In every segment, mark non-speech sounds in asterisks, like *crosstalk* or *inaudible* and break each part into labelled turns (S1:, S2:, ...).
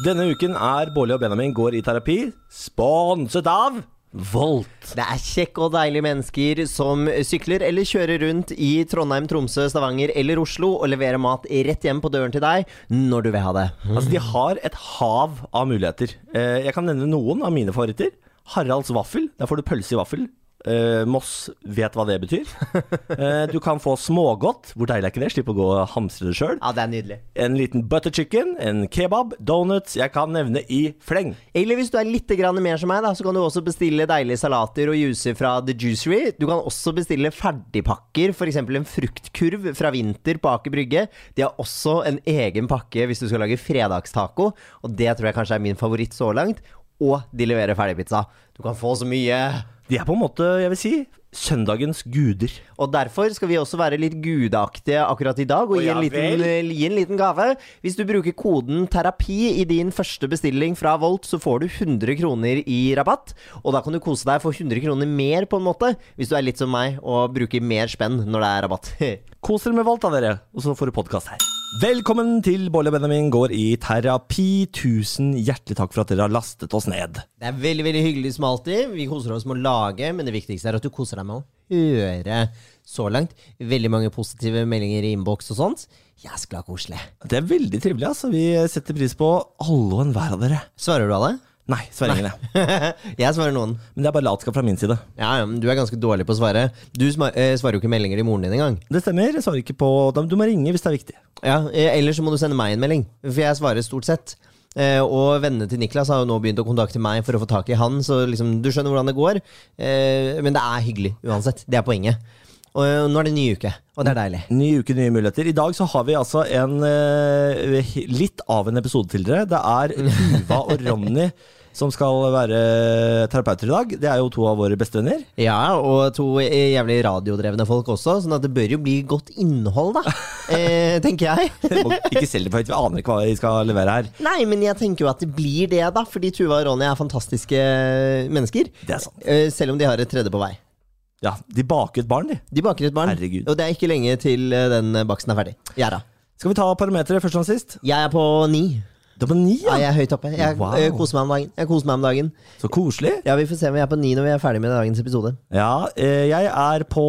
S1: Denne uken er Bårli og Benjamin går i terapi, sponset av Volt.
S2: Det er kjekke og deilige mennesker som sykler eller kjører rundt i Trondheim, Tromsø, Stavanger eller Oslo og leverer mat rett hjem på døren til deg når du vil ha det.
S1: Altså, de har et hav av muligheter. Eh, Jeg kan nevne noen av mine favoritter. Haralds vaffel. Der får du pølse i vaffel. Eh, Moss vet hva det betyr. Eh, du kan få smågodt. Hvor deilig er ikke det? Slipp å gå og hamstre det sjøl.
S2: Ja, det er nydelig.
S1: En liten butter chicken, en kebab, donuts. Jeg kan nevne i fleng.
S2: Eller hvis du er litt grann mer som meg, da, så kan du også bestille deilige salater og juicer fra The Juicery. Du kan også bestille ferdigpakker, f.eks. en fruktkurv fra Vinter på Aker Brygge. De har også en egen pakke hvis du skal lage fredagstaco, og det tror jeg kanskje er min favoritt så langt. Og de leverer ferdigpizza. Du kan få så mye!
S1: De er på en måte, jeg vil si, søndagens guder.
S2: Og derfor skal vi også være litt gudeaktige akkurat i dag og
S1: Å,
S2: gi, en
S1: ja
S2: liten, eh, gi en liten gave. Hvis du bruker koden terapi i din første bestilling fra Volt, så får du 100 kroner i rabatt. Og da kan du kose deg for 100 kroner mer, på en måte, hvis du er litt som meg og bruker mer spenn når det er rabatt. *laughs*
S1: Kos dere med Volt, da, dere. Og så får du podkast her. Velkommen til Bolle og Benjamin går i terapi. Tusen hjertelig takk for at dere har lastet oss ned.
S2: Det er veldig veldig hyggelig som alltid. Vi koser oss med å lage, men det viktigste er at du koser deg med å høre så langt. Veldig mange positive meldinger i innboks og sånt. Jæskla koselig.
S1: Det er veldig trivelig, altså. Vi setter pris på alle og enhver av dere.
S2: Svarer du alle? *laughs*
S1: Nei, sverringene.
S2: Jeg svarer noen.
S1: Men det er bare latskap fra min side.
S2: Ja, ja, men Du er ganske dårlig på å svare. Du sma- eh, svarer jo ikke meldinger til moren din engang.
S1: Det stemmer. Jeg svarer ikke på Du må ringe hvis det er viktig.
S2: Ja, eh, Eller så må du sende meg en melding, for jeg svarer stort sett. Eh, og vennene til Niklas har jo nå begynt å kontakte meg for å få tak i han, så liksom, du skjønner hvordan det går. Eh, men det er hyggelig uansett. Det er poenget. Og eh, nå er det en ny uke, og det er deilig.
S1: Ny uke, nye muligheter. I dag så har vi altså en eh, litt av en episode til dere. Det er Tuva og Ronny som skal være terapeuter i dag. Det er jo to av våre bestevenner.
S2: Ja, og to eh, jævlig radiodrevne folk også, sånn at det bør jo bli godt innhold, da. Eh, tenker jeg.
S1: *laughs* Og Ikke selv det for høyt, vi aner ikke hva vi skal levere her.
S2: Nei, men jeg tenker jo at det blir det, da. Fordi Tuva og Ronny er fantastiske eh, mennesker.
S1: Det er sant.
S2: Eh, Selv om de har et tredje på vei.
S1: Ja, De baker et barn, de.
S2: De baker et barn,
S1: Herregud.
S2: og det er ikke lenge til eh, den baksten er ferdig. Jeg, da.
S1: Skal vi ta parameteret først som sist?
S2: jeg er på ni.
S1: Du er på ni,
S2: Ja,
S1: ja!
S2: jeg er høyt oppe. Jeg,
S1: Wow.
S2: eh, koser meg om dagen. jeg koser meg om dagen.
S1: Så koselig.
S2: Ja, Vi får se om vi er på ni når vi er ferdig med dagens episode.
S1: Ja, eh, jeg er på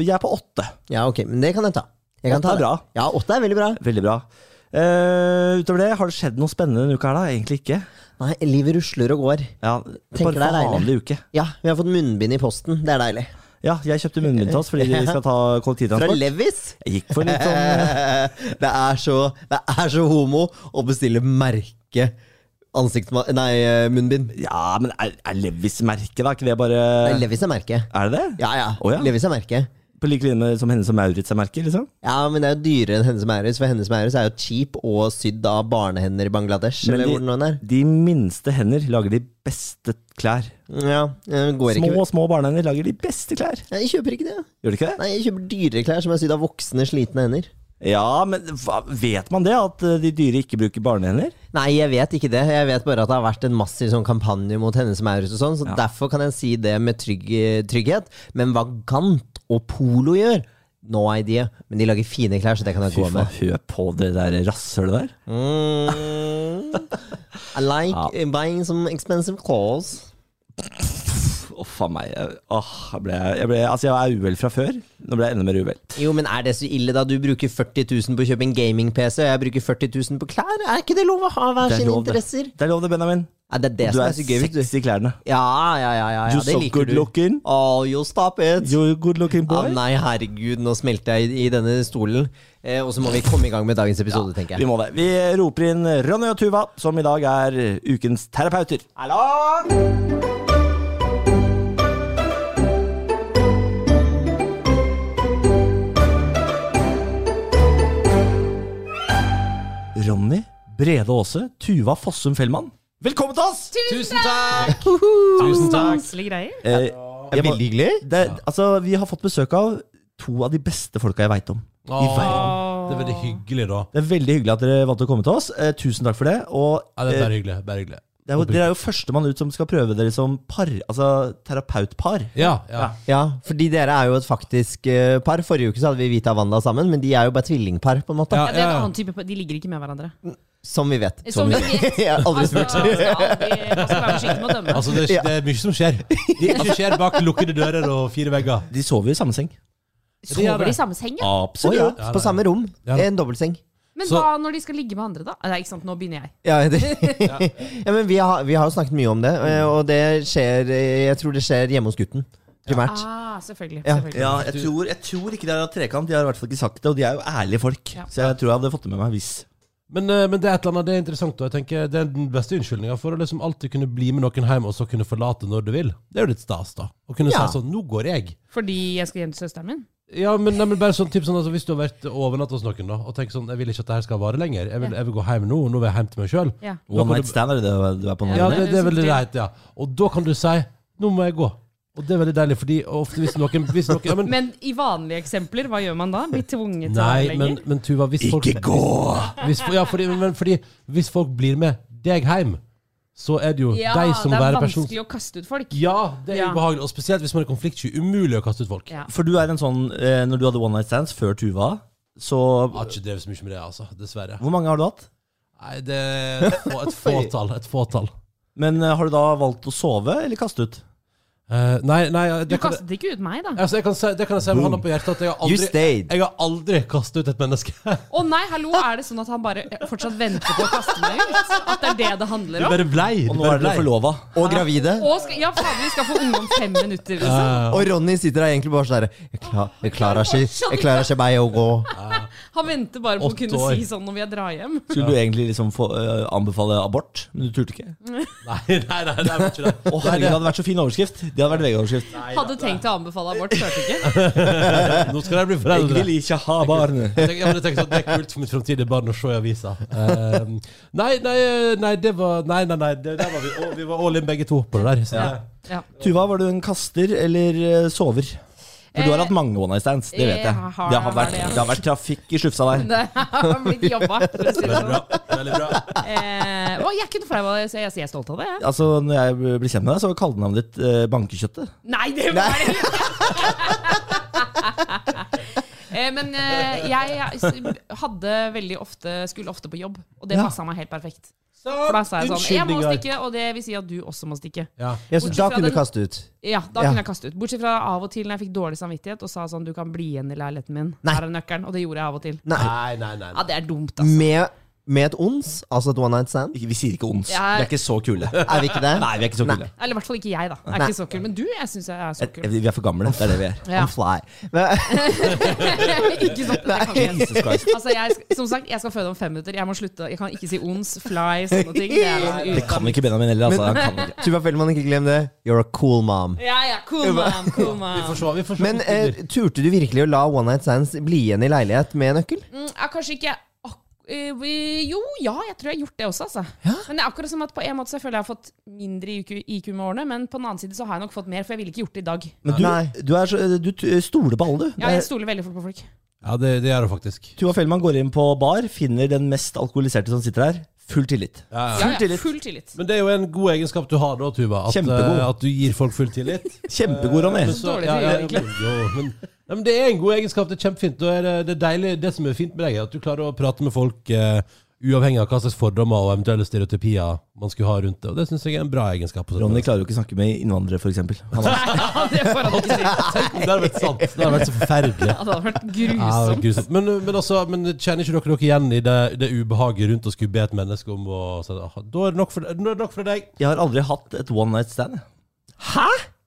S1: Jeg er på åtte.
S2: Ja, ok, Men det kan jeg ta. Jeg kan
S1: Åtte
S2: ta
S1: er bra.
S2: Ja, åtte er veldig bra.
S1: Veldig bra. Eh, utover det, har det skjedd noe spennende denne uka her, da? Egentlig ikke.
S2: Nei, livet rusler og går.
S1: Ja,
S2: Tenker det
S1: bare
S2: er deilig.
S1: vanlig uke.
S2: Ja, vi har fått munnbind i posten. Det er deilig.
S1: Ja, jeg kjøpte munnbind til oss fordi
S2: *laughs*
S1: vi skal ta
S2: Fra
S1: kollektivtransport.
S2: Levis.
S1: Jeg gikk for litt
S2: *laughs*
S1: sånn
S2: det, er så, det er så homo å bestille merke ansiktsma... Nei, eh, munnbind.
S1: Ja, men er, er Levis-merket, da? Er ikke det bare
S2: Nei, Levis er merke.
S1: Er det det?
S2: Ja, ja.
S1: Å, ja.
S2: Levis er merke.
S1: På like linje med som henne som Maurits er merket, liksom?
S2: Ja, men det er jo dyrere enn Hennes Maurits, for Hennes Maurits er jo cheap og sydd av barnehender i Bangladesh.
S1: Men
S2: eller
S1: de-
S2: hvor den nå er.
S1: De minste hender lager de beste klær.
S2: Ja, jeg går
S1: Små,
S2: ikke
S1: små barnehender lager de beste klær.
S2: Nei, Jeg kjøper ikke det.
S1: Gjør de ikke det?
S2: Nei, Jeg kjøper dyrere klær som er sydd av voksne, slitne hender.
S1: Ja, men hva, vet man det? At eh, de dyre ikke bruker barnehender?
S2: Nei, jeg vet ikke det. Jeg vet bare at det har vært en massiv sånn kampanje mot Hennes Maurits og sånn, så derfor kan jeg si det med trygg, trygghet. Men hva Gant og Polo gjør No idea. Men de lager fine klær, så det kan jeg
S1: Fy
S2: gå
S1: faen,
S2: med.
S1: hør på det der rasshølet der.
S2: Mm. *laughs* I like eh,
S1: Ja.
S2: buying some expensive clothes.
S1: Uff a meg. Jeg- Åh, jeg ble, jeg ble, altså, jeg er uvel fra før. Nå ble jeg enda mer uvel.
S2: Jo, men er det så ille, da? Du bruker 40 000 på å kjøpe en gaming-PC, og jeg bruker 40 000 på klær? Er ikke det lov å ha hver
S1: Det er
S2: sine
S1: lov, det.
S2: interesser?
S1: Det er lov det, Benjamin.
S2: Ja, det er det
S1: Du
S2: som
S1: er
S2: er så gøy. vet du.
S1: sexy i klærne.
S2: Ja, ja, ja. ja, ja
S1: You
S2: det
S1: so
S2: liker
S1: good
S2: du.
S1: looking.
S2: Oh, you stop it.
S1: You're a good looking
S2: Ah,
S1: boy.
S2: nei, herregud, nå smelter jeg i, i denne stolen. Eh, og så må vi komme i gang med dagens episode, tenker
S1: Vi
S2: jeg.
S1: må det. Vi roper inn Ronny og Tuva, som i dag er ukens terapeuter.
S2: Hallo!
S1: Ronny, Brede Aase, Tuva Fossum Fellmann. Velkommen til oss!
S3: Tusen takk! Tusen takk.
S4: Koselige greier.
S1: Eh, jeg må-
S2: Veldig hyggelig.
S1: det, altså, vi har fått besøk av to av de beste folka jeg veit om. I
S3: Åh,
S1: verden.
S3: det er veldig hyggelig, da.
S1: Det er veldig hyggelig at dere valgte å komme til oss. Eh, tusen takk for det. Og
S3: Ja, det er
S1: eh,
S3: bare hyggelig. Bare hyggelig.
S1: det er jo, dere er jo førstemann ut som skal prøve dere som par. Altså terapeutpar.
S3: Ja, ja.
S2: Ja, fordi dere er jo et faktisk eh, par. Forrige uke så hadde vi Vita og Wanda sammen, men de er jo bare tvillingpar, på en måte.
S3: Ja.
S4: Ja, det er en annen type De ligger ikke med hverandre.
S2: Som vi vet.
S4: Som vi vet.
S2: *laughs* Jeg har aldri
S4: Altså, man
S2: spurt.
S4: skal aldri- man skal være forsiktig med å dømme.
S3: Altså, det er, det er mye som
S1: *laughs*
S3: skjer. Mye skjer bak lukkede dører og fire vegger.
S1: De sover jo i samme seng.
S3: altså,
S4: Sover de i samme seng? ja?
S2: Å ja,
S1: Absolutt.
S3: Ja,
S2: på
S3: det-
S2: samme rom.
S3: Ja, det-
S2: En dobbeltseng.
S4: Men
S3: Så-
S4: hva når de skal ligge med andre, da? Nei, ikke sant, nå begynner jeg.
S2: Ja, det, *laughs* ja, men vi har, vi har jo snakket mye om det, eh, og det skjer eh, Jeg tror det skjer hjemme hos gutten, primært.
S4: Ah, selvfølgelig.
S2: Ja.
S4: selvfølgelig.
S1: Ja, jeg tror, jeg tror ikke de har hatt trekant. De har i hvert fall ikke sagt det, og de er jo ærlige folk.
S4: Ja.
S1: Så jeg tror jeg hadde fått det med meg hvis
S3: Men, eh, men det er et eller annet, det er interessant. Og jeg tenker, det er den beste unnskyldninga for å liksom alltid kunne bli med noen hjem, og så kunne forlate når du vil. Det er jo litt stas, da. Å kunne
S2: Ja.
S3: si sånn 'Nå går jeg'.
S4: Fordi jeg skal hjem til søsteren min?
S3: Ja, men, nei, men bare sånn, typ, sånn altså, Hvis du har vært overnatt hos noen da, og tenker sånn 'Jeg vil ikke at det her skal vare lenger. Jeg vil,
S4: Ja.
S3: jeg vil gå hjem nå. Nå vil jeg hjem til meg sjøl.'
S4: Ja.
S1: One
S3: kan
S1: night
S3: du-
S1: stand er det det du er på nå?
S3: Ja,
S4: det
S3: det,
S4: er
S3: det er veldig
S4: sikkert
S3: greit, ja. Og da kan du si 'Nå må jeg gå'. Og det er veldig deilig, fordi ofte hvis noen, hvis noen ja, men,
S4: *laughs* Men i vanlige eksempler, hva gjør man da? Blir tvunget til å være
S3: Nei,
S4: lenger?
S3: men, men Tuva, hvis folk
S1: Ikke gå!
S3: Hvis, ja, fordi, men fordi hvis folk blir med deg hjem, så er det jo
S4: Ja,
S3: deg som
S4: det er
S3: være person
S4: vanskelig å kaste ut folk.
S3: Ja, det er
S4: Ja.
S3: ubehagelig. Og spesielt hvis man er konfliktsky. Umulig å kaste ut folk.
S4: Ja.
S1: For du er en sånn eh, Når du hadde one night stands før Tuva, så
S3: Jeg har ikke drevet så mye med det, altså. Dessverre.
S1: Hvor mange har du hatt?
S3: Nei, det *laughs* er et få- et fåtall. Et fåtall.
S1: Men eh, har du da valgt å sove eller kaste ut?
S3: Eh, nei, nei
S4: Du
S3: det kan,
S4: kastet ikke ut meg, da.
S3: altså, jeg kan si, det kan jeg si med hånda på hjertet at jeg har
S2: You
S3: aldri,
S2: stayed.
S3: jeg har aldri kastet ut et menneske.
S4: Å nei, hallo, er det sånn at han bare eh, fortsatt venter på å kaste meg ut? At det er det det handler
S3: Det
S4: om?
S3: bare blei.
S1: Og
S3: Det
S1: nå
S3: bare
S1: er dere
S3: blei.
S1: forlova.
S2: Og gravide.
S4: Og skal, ja, faen, vi skal få unge om fem minutter, liksom.
S3: Eh,
S2: Og Ronny sitter der egentlig bare sånn der, Jeg, kla, jeg klarer ikke Jeg klarer ikke meg å gå.
S4: Han venter bare på å
S3: Åtte
S4: kunne
S3: år.
S4: si sånn når vi drar hjem.
S1: Skulle du egentlig liksom få, eh, anbefale abort, men du turte ikke?
S3: nei, nei, nei, det var ikke det.
S1: Å herregud, det hadde vært så fin overskrift. Det hadde vært VG-overskrift.
S4: Hadde tenkt å anbefale abort, turte
S2: *laughs*
S4: ikke.
S3: Nå skal jeg bli foreldre.
S1: ikke ha barnet.
S3: Jeg tenker, ja, men jeg tenker sånn, Det er kult for mitt fremtidige barn å se i avisa. Ehm, nei, nei, nei, det var Nei, nei, nei. Det, der var vi, all- vi var all in begge to på det der. Så det,
S4: Ja.
S1: Tuva, var du en kaster eller eh, sover? For du har
S4: Eh,
S1: hatt mange one night stands, det vet jeg.
S4: jeg har
S1: Det har
S4: det,
S1: vært,
S4: ja.
S1: det har vært trafikk i slufsa der.
S4: *laughs* *laughs* Det har blitt jobba. for å si det
S3: veldig
S4: sånn.
S3: bra. Veldig bra.
S4: Eh, å, jeg er ikke noe flau av det, så jeg, jeg er stolt av det. Jeg.
S1: Altså, når jeg ble kjent med deg, så var kallenavnet ditt eh, Bankekjøttet.
S4: Nei, det var det ikke! *laughs* Eh, Men eh, jeg s- hadde veldig ofte, skulle ofte på jobb, og det
S1: Ja.
S4: passa meg helt perfekt. For da sa jeg sånn Jeg må stikke, og det vil si at du også må stikke.
S3: Ja.
S2: Ja, så da kunne du kaste ut.
S4: Ja, da
S2: Ja.
S4: kunne jeg kaste ut. Bortsett fra av og til når jeg fikk dårlig samvittighet og sa sånn Du kan bli igjen i leiligheten min.
S2: Nei.
S4: Her er nøkkelen. Og det gjorde jeg av og til.
S2: Nei.
S3: Nei, nei, nei.
S4: Ja, det er dumt, altså.
S2: Med, med et ons, altså et one night stand.
S1: Ikke- Vi sier ikke ons.
S4: Ja.
S1: Vi er ikke så
S4: *laughs*
S1: kule.
S2: Er vi ikke det?
S1: Nei, vi er ikke så kule.
S4: Eller i hvert fall ikke jeg, da. Jeg er
S2: Nei.
S4: ikke så kul. Men du, jeg syns jeg er så kul.
S1: Vi er for gamle, det er det vi er.
S4: Ja.
S2: I'm fly. Men,
S4: ikke sant? Det kan jeg.
S1: Jesus Christ.
S4: Altså, jeg, som sagt, jeg skal føde om fem minutter. Jeg må slutte. Jeg kan ikke si ons, fly, sånne ting. Det er liksom
S1: Det kan ikke Benjamin heller, altså. Han kan
S4: *laughs*
S1: ikke.
S2: Tuva Fellmann, ikke glem det. You're a cool mom.
S4: Ja, ja. Cool mom,
S3: Vi
S4: cool mom.
S3: får se. Vi får se.
S2: Men eh, turte du virkelig å la one night stands bli igjen i leilighet med nøkkel?
S4: Mm, jeg, kanskje ikke ak- eh, vi- Jo, ja, jeg tror jeg har gjort det også, altså. Men det er akkurat som at på en måte så føler jeg jeg har fått mindre IQ, IQ med årene, men på den annen side så har jeg nok fått mer, for jeg ville ikke gjort det i dag.
S1: Men du,
S2: Nei.
S1: du, er så, du t- stoler på alle, du.
S4: Ja, jeg stoler veldig fort på folk.
S3: ja, det, det gjør det faktisk.
S1: Tuva Fellmann går inn på bar, finner den mest alkoholiserte som sitter her. Full tillit.
S3: Ja, ja.
S4: Ja, ja, full tillit.
S3: Men det er jo en god egenskap du har da, Tuva. At,
S1: Kjempegod.
S3: eh, at du gir folk full tillit.
S1: Kjempegod, Ronny.
S3: Men så-
S4: Dårlig
S3: ja,
S4: til å
S3: ja,
S4: gjøre, egentlig.
S3: jo, jo, men, nei, men det er en god egenskap. Det er kjempefint. Og er det, det, er deilig, det som er fint med deg, er at du klarer å prate med folk eh, uavhengig av hva slags fordommer og eventuelle stereotypier man skulle ha rundt det. Og det syns jeg er en bra egenskap. og sånt.
S1: Ronny klarer jo ikke å snakke med innvandrere, f.eks. Han
S4: *laughs*
S1: er
S4: Ja, det får han ikke si.
S3: Tenk om det hadde vært sant! Det hadde vært så forferdelig.
S4: Ja, det hadde vært
S3: *laughs* Ja, det hadde vært
S4: grusomt.
S3: grusomt. Men, men, altså, men kjenner ikke dere dere igjen i det, det ubehaget rundt å skulle be et menneske om å så, ah, Da er det nok for, nå er det nok for deg.
S1: Jeg har aldri hatt et one night stand. jeg.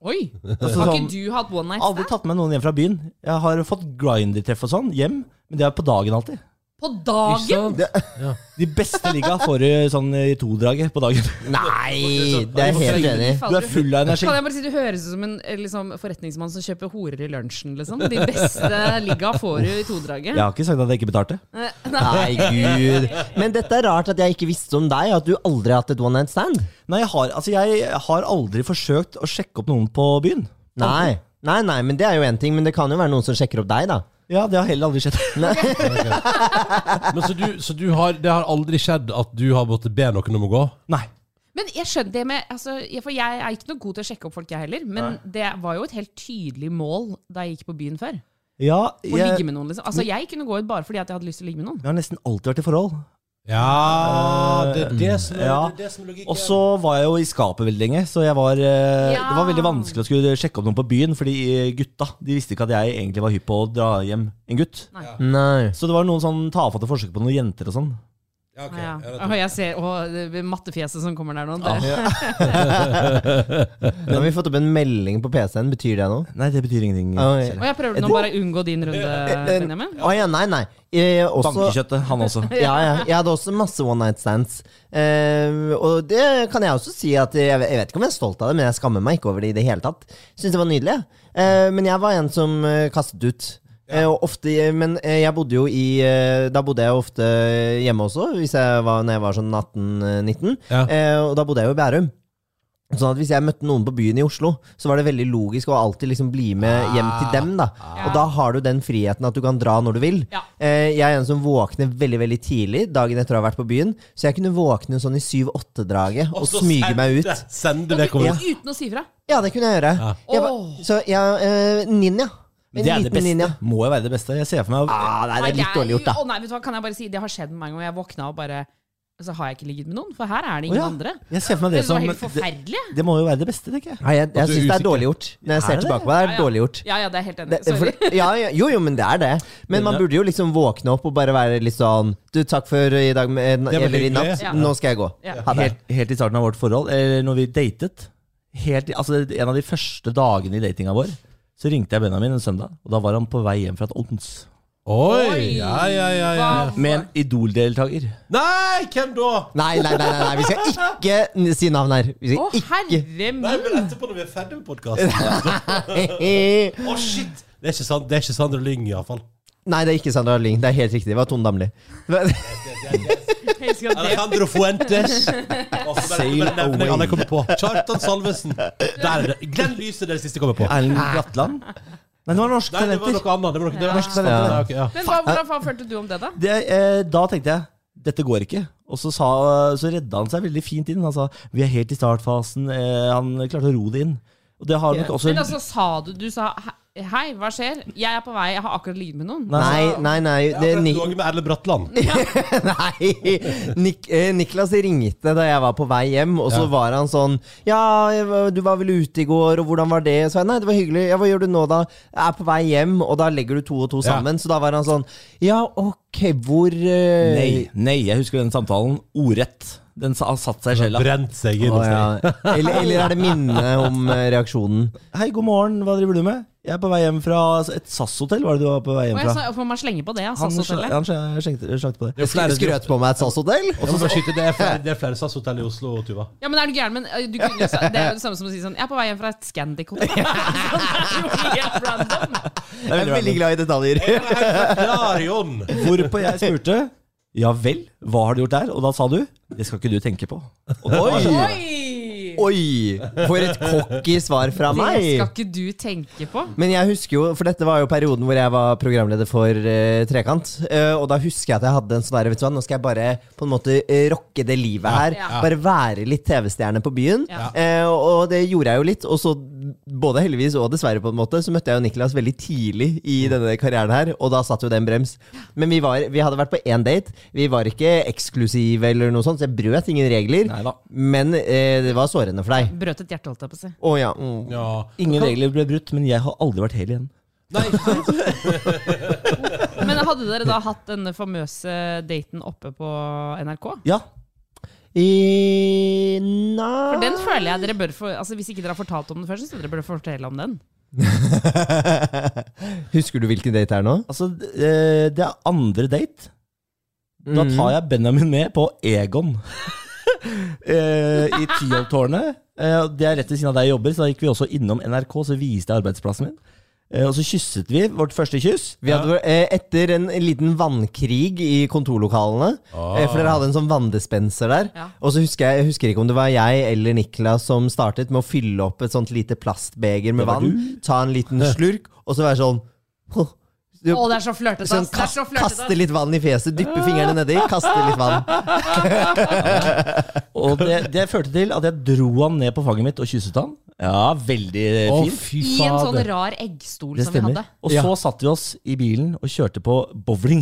S4: Oi!
S1: Altså,
S4: Har
S1: sånn,
S4: ikke du hatt one night
S1: aldri tatt med noen hjem fra byen. Jeg har fått grindertreff og sånn hjem, men det er på dagen alltid.
S4: På
S3: Ikke
S4: dagen!
S3: sant? Ja.
S1: De beste ligga får du sånn i to-draget på dagen.
S2: Nei, det er jeg helt enig i.
S4: Fader,
S1: Du er full av energi.
S4: Kan jeg bare si Du høres ut som en eh, liksom, forretningsmann som kjøper horer i lunsjen. Liksom. De
S3: *laughs*
S4: beste ligga får du i todraget.
S1: Jeg har ikke sagt at jeg ikke betalte.
S4: Eh,
S2: Nei, gud. Men dette er rart at jeg ikke visste om deg, at du aldri har hatt et one night stand.
S1: Nei, jeg har, altså, jeg har aldri forsøkt å sjekke opp noen på byen.
S2: Nei. Nei, nei, men det er jo én ting, men det kan jo være noen som sjekker opp deg, da.
S1: Ja, det har heller aldri skjedd.
S3: Men så du, så du har, det har aldri skjedd at du har måttet be noen om å gå?
S1: Nei.
S4: Men jeg skjønner det med altså, jeg- For jeg er ikke noe god til å sjekke opp folk, jeg heller. Men det var jo et helt tydelig mål da jeg gikk på byen før.
S1: Ja,
S4: Å ligge
S1: jeg,
S4: med noen, liksom. Altså, jeg kunne gå ut bare fordi at jeg hadde lyst til å ligge med noen.
S1: jeg har nesten alltid vært i forhold.
S3: Ja, det er det som er,
S1: Ja.
S3: det er det som er logikken.
S1: Og så var jeg jo i skapet veldig lenge, så jeg var, eh,
S4: Ja.
S1: det var veldig vanskelig å skulle sjekke opp noen på byen, fordi eh, gutta de visste ikke at jeg egentlig var hypp på å dra hjem en gutt.
S2: Nei.
S1: Så det var noen sånn tafatte forsøk på noen jenter og sånn.
S3: ja, ok.
S4: Ja,
S3: Ja, det er
S4: Og jeg ser å, det mattefjeset som kommer der nå. Det.
S2: Nå har vi fått opp en melding på PC-en, betyr det noe?
S1: Nei, det betyr ingenting.
S2: Oi.
S4: Og jeg prøver nå bare å unngå
S3: *laughs*
S4: din runde, Eh, Benjamin.
S2: Eh, Å ja, nei, nei. Eh, også,
S1: Bankekjøttet, han *laughs* også.
S2: *laughs* ja, ja. Jeg hadde også masse one night stands. Eh, og det kan jeg også si at jeg, jeg vet ikke om jeg er stolt av det, men jeg skammer meg ikke over det i det hele tatt. Syns det var nydelig. jeg. Eh, men jeg var en som eh, kastet ut. Eh, og ofte, men eh, jeg bodde jo i eh, Da bodde jeg jo ofte hjemme også, hvis jeg var, når jeg var sånn 18-19.
S3: Ja.
S2: Eh, og da bodde jeg jo i Bærum. Sånn at Hvis jeg møtte noen på byen i Oslo, så var det veldig logisk å alltid liksom bli med hjem til dem. da Og da har du den friheten at du kan dra når du vil.
S4: Ja.
S2: Eh, Jeg er en som våkner veldig veldig tidlig dagen etter å ha vært på byen, så jeg kunne våkne sånn i 7-8-draget og,
S3: så
S2: smyge meg ut.
S3: sende- Sende
S4: Og
S3: vedkommende.
S4: du- Uten å si fra.
S2: Ja, det kunne jeg gjøre. Jeg var,
S4: Åh.
S2: så jeg eh, Ninja. En
S1: Det er det
S2: liten ninja.
S1: beste. Må jo være det beste. Jeg ser for meg
S2: Ah, nei, det er litt dårlig gjort, da.
S4: Å nei, vet du hva, kan jeg bare si Det har skjedd med meg en gang. Jeg våkna og bare Så har jeg ikke ligget med noen, for her er det ingen
S1: ja.
S4: andre.
S1: Jeg ser for meg
S4: Det
S1: det
S4: var
S1: som
S4: helt
S1: det,
S4: forferdelig.
S1: det må jo være det beste, tenker jeg.
S2: Nei, jeg jeg
S3: du er
S2: syns det er
S3: usikker.
S2: dårlig gjort. Når jeg ser
S1: det det?
S2: tilbake på det, er det dårlig gjort.
S4: Ja, ja, det er jeg helt enig.
S2: Det, for,
S4: Sorry.
S2: ja, ja, jo, jo, men det er det. Men man burde jo liksom våkne opp og bare være litt sånn Du, takk for i dag, eh, n-
S3: Det var
S2: eller i natt.
S3: hyggelig.
S4: Ja.
S2: Nå skal jeg gå.
S4: Ja.
S2: Ha det.
S1: Helt, helt i starten av vårt forhold, eller når vi datet helt, i- altså En av de første dagene i datinga vår, så ringte jeg Benjamin en søndag. Og da var han på vei hjem fra et odds.
S3: Oi! Ja, ja, ja, ja.
S4: Hva-
S1: Med en Idol-deltaker.
S3: Nei, hvem da?
S2: Nei, nei, nei, nei, nei, vi skal ikke n- si navn her. Vi
S4: Å,
S2: skal ikke
S4: herre
S3: Nei,
S4: min!
S3: men etterpå når vi er ferdig med podkasten. Å, shit! Det er ikke, sant, det er ikke Sandra Lyng, iallfall.
S2: Nei, det er ikke Sandra Lyng. Det er helt riktig. Det var Tone Damli.
S4: Jeg elsker at det-
S3: Alejandro Fuentes. Å, så bare-
S1: Sail
S3: bare nevner jeg alle
S1: away.
S3: jeg kommer på. Kjartan Salvesen. Der er det. Glenn Lyse det er det siste jeg kommer på.
S1: Erlend Bratland. Nei, det var norske
S3: Nei, det var
S1: talenter.
S3: noe annet. Det var noe, det var
S1: Norske talenter.
S3: Ja, ok, ja.
S4: Men hva, hvordan faen følte du om det, da?
S1: Det, eh, da tenkte jeg dette går ikke. Og så, sa, så redda han seg veldig fint inn. Han sa vi er helt i startfasen. Eh, han klarte å ro det inn. Og det har nok også
S4: Men altså, sa du Du sa he- hei, hva skjer? Jeg er på vei, jeg har akkurat ligget med noen.
S2: *laughs* Nei, nei, nei.
S3: Jeg
S2: Det
S3: har
S2: er ni
S3: akkurat ligget med Erle Bratland.
S2: *laughs* Nei! Nik eh, Niklas ringte da jeg var på vei hjem, og så var han sånn Ja, jeg var- du var vel ute i går, og hvordan var det? Så jeg nei, det var hyggelig. Ja, hva gjør du nå, da? Jeg er på vei hjem, og da legger du to og to
S3: Ja.
S2: sammen. Så da var han sånn Ja, ok, hvor eh,
S1: Nei, nei, jeg husker den samtalen ordrett. Den sa- har satt seg i sjela.
S3: Brent seg
S2: Å,
S3: inn hos deg.
S2: ja. eller, eller er det minnet om eh, reaksjonen?
S1: Hei, god morgen, hva driver du med? Jeg er på vei hjem fra et SAS-hotell. Var det du var på vei hjem
S4: Og jeg
S1: fra?
S4: sa, for man slenger på det, altså, ja,
S1: Han,
S4: SAS-hotellet.
S1: han slengte slengte på det.
S3: Det er flere-
S2: Skrøt på meg et SAS-hotell?
S3: Jeg må bare skyte, Det er flere, det er flere SAS-hotell i Oslo, Tuva.
S4: Ja, men er du gæren? Men ø, du kunne, jo sa- det er jo det samme som å si sånn Jeg er på vei hjem fra et Scandic-hotell. *laughs* Sånn, det er jo helt random.
S2: Jeg er veldig glad i detaljer.
S3: Klarion!
S1: Hvorpå jeg spurte ja vel, hva har du gjort der? Og da sa du det skal ikke du tenke på. Og det var- sånn,
S4: Oi!
S2: Oi! For et cocky svar fra meg.
S4: Det skal ikke du tenke på.
S2: Men jeg husker jo, for dette var jo perioden hvor jeg var programleder for eh, Trekant. eh, og da husker jeg at jeg hadde en sånn der, vet du hva, nå skal jeg bare på en måte eh, rocke det livet her.
S4: Ja.
S2: Bare være litt TV-stjerne på byen. Eh, og det gjorde jeg jo litt. Og så, både heldigvis og dessverre, på en måte, så møtte jeg jo Niklas veldig tidlig i
S4: Mm.
S2: denne karrieren her, og da satt jo det en brems. Men vi, var, vi hadde vært på én date. Vi var ikke eksklusive eller noe sånt, så jeg brøt ingen regler.
S1: Neida.
S2: Men eh, det var sårende for deg.
S4: Brøt et hjerte, holdt jeg på å si.
S2: Å ja. Mm.
S3: Ja.
S1: Ingen regler ble brutt, men jeg har aldri vært hel igjen.
S3: Nei,
S4: Men hadde dere da hatt denne famøse daten oppe på NRK?
S1: Ja,
S2: I... Nei
S4: For den føler jeg dere bør få Altså Hvis ikke dere har fortalt om den før, så syns jeg dere bør fortelle om den.
S2: Husker du hvilken date det er nå?
S1: altså eh, det er andre date. Da tar jeg Benjamin med på Egon. *laughs* Eh, I Tyholttårnet. Eh, det er rett ved siden av der jeg jobber, så da gikk vi også innom NRK, så viste jeg arbeidsplassen min. Eh, og så kysset vi vårt første kyss.
S2: Vi hadde, eh, etter en liten vannkrig i kontorlokalene, eh, for
S3: Ah.
S2: dere hadde en sånn vanndispenser der,
S4: Ja.
S2: og så husker jeg, jeg husker ikke om det var jeg eller Niklas som startet med å fylle opp et sånt lite plastbeger med vann, ta en liten slurk, og så være sånn «Åh», du-
S4: Å, det er så flørtete,
S2: Sånn,
S4: ass. Det er
S2: kast,
S4: så
S2: kaste
S4: flørtete.
S2: litt vann i fjeset, dyppe fingrene nedi, kaste litt vann.
S1: Og det, det førte til at jeg dro han ned på fanget mitt og kysset han. Ja, veldig
S3: Å,
S1: fint.
S3: fy
S4: I en sånn
S3: fader.
S4: rar eggstol
S1: Det
S4: som vi
S1: stemmer.
S4: hadde.
S1: Og så satte vi oss i bilen og kjørte på bowling.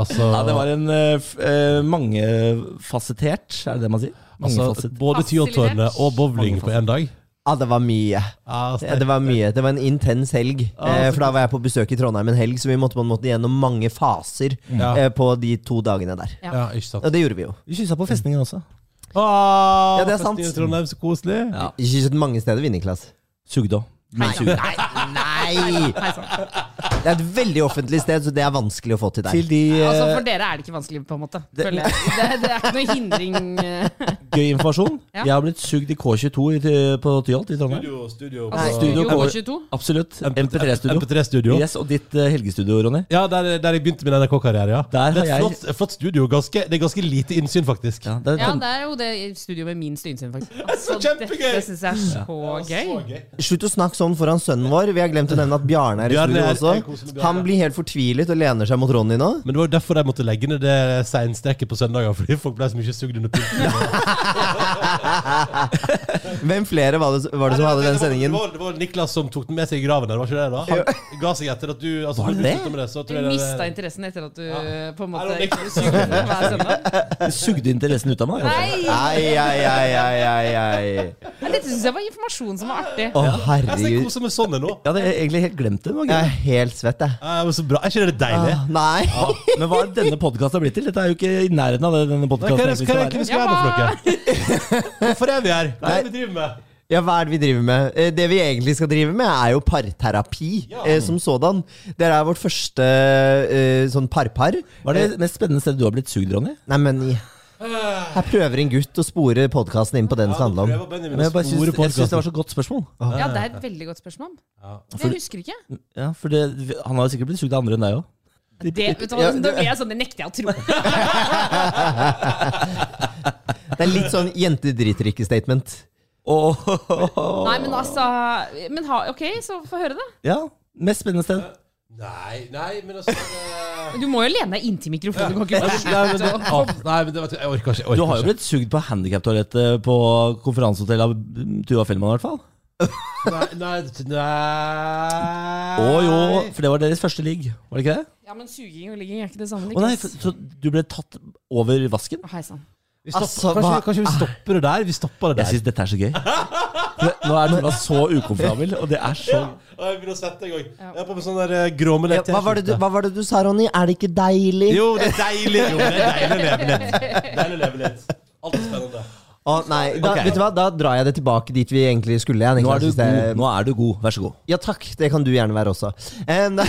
S3: Altså,
S1: *laughs* Ja, det var en eh, f- eh, mangefasettert, er det det man sier?
S3: altså,
S1: Mangefasettert.
S3: både Tyholttårnet og bowling på én dag.
S2: Ja, Ah, det var mye.
S3: Ja,
S2: Ja, det var mye. Det var en intens helg. eh,
S3: Ah, så
S2: for da var jeg på besøk i Trondheim en helg, så vi måtte på en måte gjennom mange faser
S3: Ja.
S2: eh, på de to dagene der.
S3: ja, ikke sant.
S2: Og det gjorde vi jo.
S1: Vi kyssa på festningen også.
S3: Åh,
S2: Ja, det er sant.
S3: fest i Trondheim, så koselig.
S2: Vi kysset mange steder, vi, Niklas.
S1: Sugde òg.
S2: Nei, nei,
S3: *laughs*
S2: nei!
S4: Nei, sant.
S2: Det er et veldig offentlig sted, så det er vanskelig å få til
S1: Til
S2: deg.
S1: de
S4: Altså,
S1: eh,
S4: for dere er det ikke vanskelig, på en måte. føler jeg. Det, det er ikke noe hindring. eh.
S1: gøy informasjon.
S4: Ja.
S1: Jeg har blitt sugd i K22 i, t- på Tyholt i Trondheim.
S3: Studio, studio.
S4: Altså,
S1: Nei.
S4: Studio
S1: Studio går-
S4: K22.
S1: Absolutt. MP3-studio.
S3: MP3-studio.
S1: Yes, Og ditt eh, helgestudio, Ronny.
S3: Ja, der, der jeg begynte min NRK-karriere, ja.
S1: Der har
S3: det er et
S1: jeg-
S3: flott, flott studio. Ganske, det er ganske lite innsyn, faktisk.
S1: Ja, det er
S4: Ja,
S1: Trond-
S4: det er jo det studioet med minst innsyn, faktisk. Altså,
S3: kjempegøy!
S4: Det, det syns jeg er så gøy.
S2: Slutt å snakke sånn foran sønnen vår. Vi har glemt å nevne at Bjarne er i
S3: Bjarne
S2: studio
S3: er- jeg
S2: også.
S3: koser med Bjarne.
S2: Han blir helt fortvilet og lener seg mot Ronny nå.
S3: Men det var jo derfor de måtte legge ned det seinstreket på søndager, *laughs* fordi folk ble så mye sugd under pulten.
S2: Hvem flere var det, var det som hadde den
S3: Det
S2: sendingen?
S3: var, det var Niklas som tok den med seg i graven der, var ikke det? da? Han ga seg etter at du altså,
S1: Var
S3: du
S1: det?
S3: sluttet Med det, så
S4: Du
S3: tror jeg
S4: mista
S3: det,
S4: interessen etter at du på en
S3: Nei,
S4: måte
S3: det var
S4: ikke sugde hver søndag.
S1: Du sugde interessen ut av meg. Altså.
S4: Nei!
S2: Ai, ai, ai, ai, ai, ai.
S4: Men Dette syns jeg var informasjon som var artig.
S3: altså,
S2: Å,
S3: Jeg ser
S2: herregud.
S3: koser meg sånn nå.
S1: Jeg hadde egentlig helt glemt det. det. var
S2: Jeg
S1: gøy.
S2: er helt svett, jeg.
S3: Ja, men så bra. Er ikke det deilig?
S2: Ah, Nei.
S1: Men hva er denne podkasten blitt til? Dette er jo ikke i nærheten av det denne
S3: Nei, Hva er
S1: podkasten
S3: det hva
S1: skal
S3: er det vi
S1: være.
S3: skal gjøre nå, for noe? Hvorfor er vi her? Hva er det vi driver med?
S2: Ja, hva er det vi driver med? Eh, Det vi egentlig skal drive med, er jo parterapi
S3: Ja.
S2: eh, som sådan. Det er vårt første eh, sånn par-par.
S1: Hva er det mest spennende stedet du har blitt sugd, Ronny?
S2: Nei, men i- Her prøver en gutt å spore podkasten inn på den det skal handle om.
S1: Men jeg bare syns,
S3: Store
S1: jeg syns det
S3: podcasten.
S1: var så godt spørsmål.
S4: Ja, det er et veldig godt spørsmål. Det husker ikke.
S1: Ja, for det, Han har jo sikkert blitt sugd av andre enn deg òg.
S4: Det, vet du hva,
S2: Ja,
S4: da blir jeg sånn, det nekter jeg å tro.
S2: Det er litt sånn jente-driter-ikke-statement.
S4: Nei, men altså men ha, Ok, så få høre, da.
S1: Ja, mest spennende sted.
S3: Nei, nei, men altså det-
S4: *laughs* Du må jo lene deg inntil mikrofonen. Du kan ikke
S3: Nei,
S4: bare
S3: men det,
S4: slutte å-
S3: Åh, nei, men det, vet du, jeg orker ikke. Jeg orker
S1: Du har jo
S3: ikke.
S1: blitt sugd på handikaptoalettet på konferansehotellet av Tuva Fellmann, i hvert fall.
S3: Nei, nei, nei.
S1: Å jo, for det var deres første ligg, var det ikke det?
S4: Ja, men suging og ligging er ikke det samme.
S1: Å nei,
S4: Niklas.
S1: for, så du ble tatt over vasken?
S4: Hei sann. *laughs*
S3: Vi stopper,
S2: Altså,
S3: kanskje,
S2: hva-
S3: kanskje vi stopper det der? Vi stopper det
S1: Jeg
S3: der.
S1: syns dette er så gøy. Nå er Tuva så ukomfortabel, og det er så
S3: Jeg begynner å svette en gang.
S4: Ja.
S3: Jeg har på meg sånn der eh, gråmelett
S2: Ja, hva, var det du, hva var det du sa, Ronny? Er det ikke deilig?
S3: Jo, det er deilig. Jo, det er deilig å leve litt. Deilig å leve litt. Alt er spennende.
S2: Å, nei, da,
S1: Ok.
S2: vet du hva? da drar jeg det tilbake dit vi egentlig skulle. Jeg,
S1: Nå
S2: Niklas,
S1: er du
S2: hvis det-
S1: god. Nå er du god. Vær så god.
S2: Ja takk, det kan du gjerne være også. Eh, nei,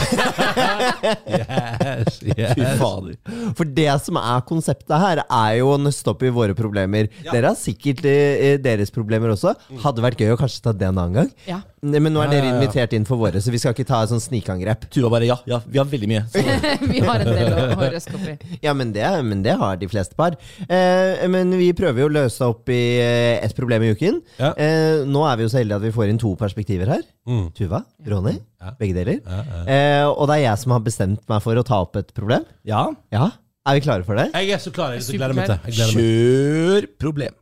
S2: *laughs*
S3: Yes,
S1: Fy
S3: yes.
S1: fader.
S2: For det som er konseptet her, er jo å nøste opp i våre problemer. Dere har sikkert eh, deres problemer også. Hadde vært gøy å kanskje ta det en annen gang.
S4: Ja.
S2: Nei, Men nå er
S3: Mm. Ja,
S2: dere
S3: ja, ja.
S2: invitert inn for våre, så vi skal ikke ta et sånn snikangrep.
S1: Tuva bare ja, ja, vi har veldig mye. Så
S4: Vi har en del å å røske opp i.
S2: Ja, men det, men det har de fleste par. Eh, men vi prøver jo å løse opp i eh, ett problem i uken.
S3: Ja. Mm.
S2: Eh, nå er vi jo så heldige at vi får inn to perspektiver her. Tuva, Ronny, begge deler. Eh, og det er jeg som har bestemt meg for å ta opp et problem.
S1: ja,
S2: Ja, Er vi klare for det?
S3: Jeg er så klar. Jeg, så gleder meg til. Jeg gleder meg.
S1: kjør problem.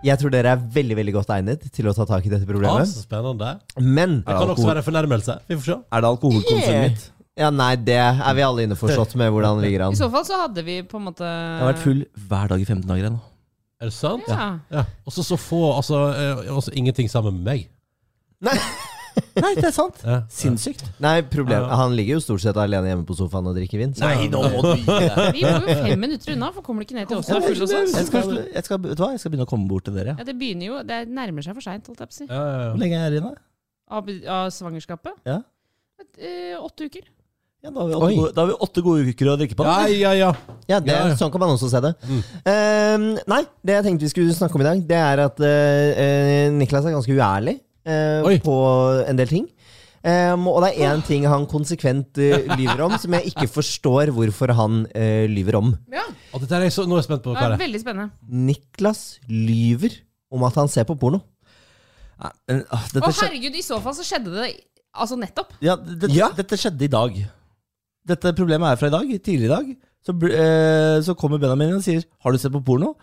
S2: Jeg tror dere er veldig veldig godt egnet til å ta tak i dette
S3: Ja,
S2: problemet.
S3: så spennende. Det
S2: Men
S3: kan også være en fornærmelse. Vi får se.
S1: Er det alkoholkonsumet mitt?
S2: Ja, nei, det er vi alle
S3: *laughs*
S2: innforstått med hvordan det ligger
S4: I
S2: an.
S4: så fall så hadde vi på en måte
S1: Jeg har vært full hver dag i 15 dager ennå.
S3: Er det sant?
S4: Ja.
S3: Ja. Og så så få altså, eh, altså ingenting sammen med meg.
S1: Nei, det er sant.
S3: Ja.
S1: Sinnssykt.
S2: Nei, problem. Han ligger jo stort sett alene hjemme på sofaen og drikker vin. Så.
S1: Nei, nå må du gi deg.
S4: Vi bor jo fem minutter unna, for kommer du ikke ned til oss? og er full hos oss?
S1: Jeg skal, jeg, skal, vet du hva? jeg skal begynne å komme bort til dere.
S4: Ja, det begynner jo Det nærmer seg for seint, holdt jeg på å si.
S3: Ja, ja, ja.
S1: Hvor lenge er jeg her inne?
S4: av, av svangerskapet.
S1: Ja.
S4: Eh, åtte uker.
S1: Ja, da, har vi
S3: Oi.
S1: åtte gode, da har vi åtte gode uker å drikke på.
S3: Ja, ja, ja.
S2: Ja, det,
S3: Ja, Mm. ja.
S2: Sånn kan man også se det. Eh, nei, det jeg tenkte vi skulle snakke om i dag, det er at eh, eh, Niklas er ganske uærlig eh,
S3: Oi.
S2: på en del ting. Eh, og det er én ting han konsekvent eh, lyver om, som jeg ikke forstår hvorfor han eh, lyver om.
S4: Ja,
S3: Og dette er jeg så, nå er jeg spent på
S4: det
S3: hva
S4: er
S3: det er.
S4: Veldig spennende.
S2: Niklas lyver om at han ser på porno.
S1: Nei, men, ah,
S4: Å
S1: dette, skjedde,
S4: herregud, i så fall så skjedde det altså nettopp.
S1: ja, dette,
S2: Ja.
S1: dette skjedde i dag. Dette problemet er fra i dag. Tidligere i dag så, bl- eh, så kommer Benjamin og sier 'Har du sett på porno?'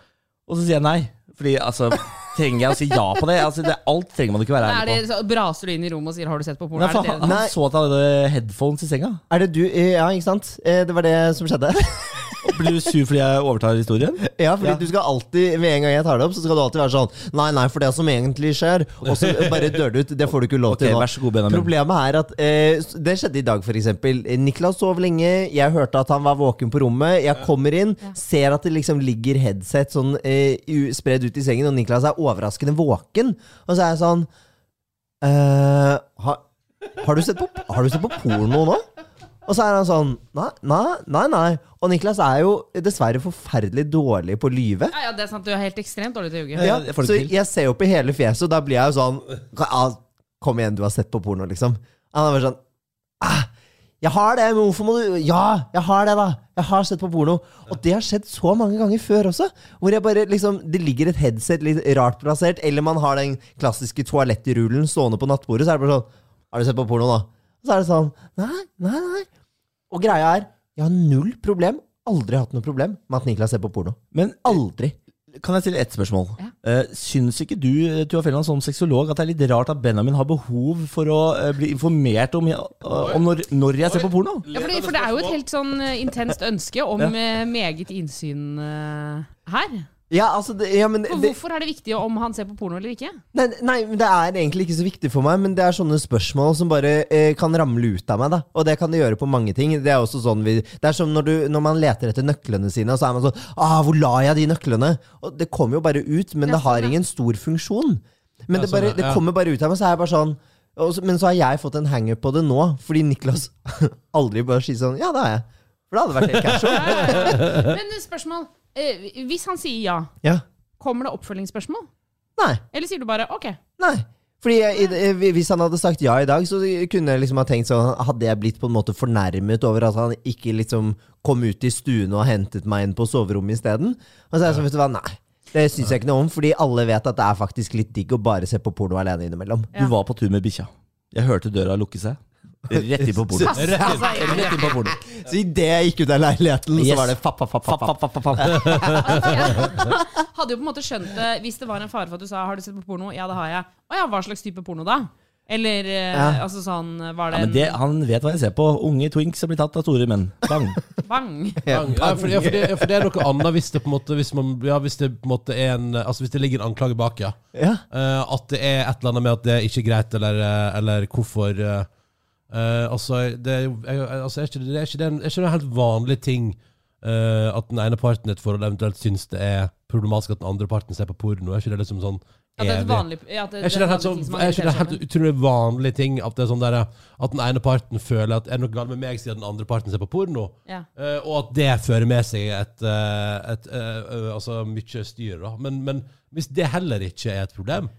S1: Og så sier jeg nei. Fordi altså, trenger jeg å si ja på det? Altså, det alt trenger man ikke være
S4: Da er det,
S1: ærlig på.
S4: så braser du inn i rommet og sier 'har du sett på
S1: Nei,
S4: porno'? Er
S1: for
S4: det
S1: han,
S4: det?
S1: han så at han hadde headphones i senga.
S2: Er det du eh, Ja, ikke sant? Eh, det var det som skjedde. *laughs*
S1: Og blir du sur fordi jeg overtar historien?
S2: Ja, fordi
S1: Ja.
S2: du skal alltid, Med en gang jeg tar det opp, så skal du alltid være sånn Nei, nei, for det som egentlig skjer. Og så bare dør det ut. Det får du ikke lov
S1: Ok,
S2: til nå.
S1: vær så god, Benjamin.
S2: Problemet er at eh, s- Det skjedde i dag, f.eks. Niklas sov lenge. Jeg hørte at han var våken på rommet. Jeg kommer inn, ser at det liksom ligger headset sånn eh, u- spredd ut i sengen, og Niklas er overraskende våken. Og så er jeg sånn eh, ha, har, du sett på, har du sett på porno nå? Og så er han sånn Nei, nei, nei. nei. Og Niklas er jo dessverre forferdelig dårlig på å lyve.
S4: Ja, ja, det er sant. Du er helt ekstremt dårlig til å ljuge.
S1: Ja,
S2: Ja,
S1: jeg får det
S2: så
S1: til.
S2: jeg ser jo på hele fjeset, og da blir jeg jo sånn ja, Kom igjen, du har sett på porno, liksom. Han er bare sånn ah, Jeg har det, men hvorfor må du Ja, jeg har det, da. Jeg har sett på porno. Og det har skjedd så mange ganger før også. Hvor jeg bare liksom Det ligger et headset litt rart plassert, eller man har den klassiske toalettrullen stående på nattbordet, så er det bare sånn Har du sett på porno nå? Og så er det sånn Nei, nei, nei. Og greia er, jeg har null problem, aldri hatt noe problem med at Niklas ser på porno.
S1: Men
S2: Aldri.
S1: Kan jeg stille ett spørsmål?
S4: Ja.
S1: Eh, syns ikke du eh, Tua Felland, som sexolog at det er litt rart at Benjamin har behov for å eh, bli informert om, eh, om når, når jeg ser på porno?
S4: Ja, fordi, for det er jo et helt sånn eh, intenst ønske om eh, meget innsyn eh, her.
S2: Ja, altså, det, ja, men
S4: Og
S2: det,
S4: hvorfor er det viktig om han ser på porno eller ikke?
S2: Nei, nei, men det er egentlig ikke så viktig for meg, men det er sånne spørsmål som bare eh, kan ramle ut av meg. da Og det kan det gjøre på mange ting. Det er også sånn vi, Det er som når, du, når man leter etter nøklene sine, og så er man sånn ah, 'Hvor la jeg de nøklene?' Og Det kommer jo bare ut, men
S4: Ja,
S2: det har
S4: sånn, ja.
S2: ingen stor funksjon. Men
S3: Ja,
S2: det, bare,
S3: sånn, ja.
S2: det kommer bare ut av meg, så er jeg bare sånn og så- Men så har jeg fått en hangup på det nå, fordi Niklas *laughs* aldri bare sier sånn 'Ja, det har jeg'. For det hadde vært helt casual.
S4: Men eh, spørsmål. Eh, hvis han sier ja,
S2: ja.
S4: kommer det oppfølgingsspørsmål?
S2: Nei.
S4: Eller sier du bare OK?
S2: Nei. Fordi jeg, i- i- Hvis han hadde sagt ja i dag, så kunne jeg liksom ha tenkt sånn Hadde jeg blitt på en måte fornærmet over at han ikke liksom kom ut i stuen og hentet meg inn på soverommet isteden? Og så er jeg sånn, vet du hva, nei. Det syns jeg ikke noe om, fordi alle vet at det er faktisk litt digg å bare se på porno alene innimellom.
S4: Ja.
S1: Du var på tur med bikkja. Jeg hørte døra lukke seg. Rett inn på porno.
S4: Pass deg.
S1: Rett inn på porno.
S2: Så idet jeg gikk ut av leiligheten, så
S1: Yes.
S2: var det fapp, fapp, fapp, fapp, fapp.
S4: Hadde jo på en måte skjønt det hvis det var en fare for at du sa 'har du sett på porno'? Ja, det har jeg. Å ja, hva slags type porno da? Eller eh,
S2: Ja.
S4: altså sånn Var
S1: Ja,
S4: det
S1: men
S4: en
S1: det, han vet hva jeg ser på. Unge twinks som blir tatt av store menn. Bang.
S4: bang?
S3: Ja, for, ja, for, det, ja, for det er noe annet hvis det på en måte Hvis, man, ja, hvis det på en måte er en Altså hvis det ligger en anklage bak, ja.
S2: Ja.
S3: Eh, at det er et eller annet med at det er ikke er greit, eller, eh, eller hvorfor eh, eh, Altså, det er jo jeg- jeg- altså, er ikke, det, er ikke det en, er ikke det en helt vanlig ting eh, at den ene parten i et forhold eventuelt syns det er problematisk at den andre parten ser på porno? Er ikke det liksom sånn
S4: At det er et
S3: evig?
S4: vanlig ja, at det,
S3: Er ikke det en helt,
S4: vanlig ting som
S3: sånn,
S4: man
S3: er ikke det en
S4: irriterer
S3: helt
S4: seg over.
S3: utrolig vanlig ting at, det er sånn der, at den ene parten føler at er det noe galt med meg siden den andre parten ser på porno?
S4: Ja.
S3: Eh, og at det fører med seg et, eh, et, eh, eh, altså mye styr. Da. Men, men hvis det heller ikke er et problem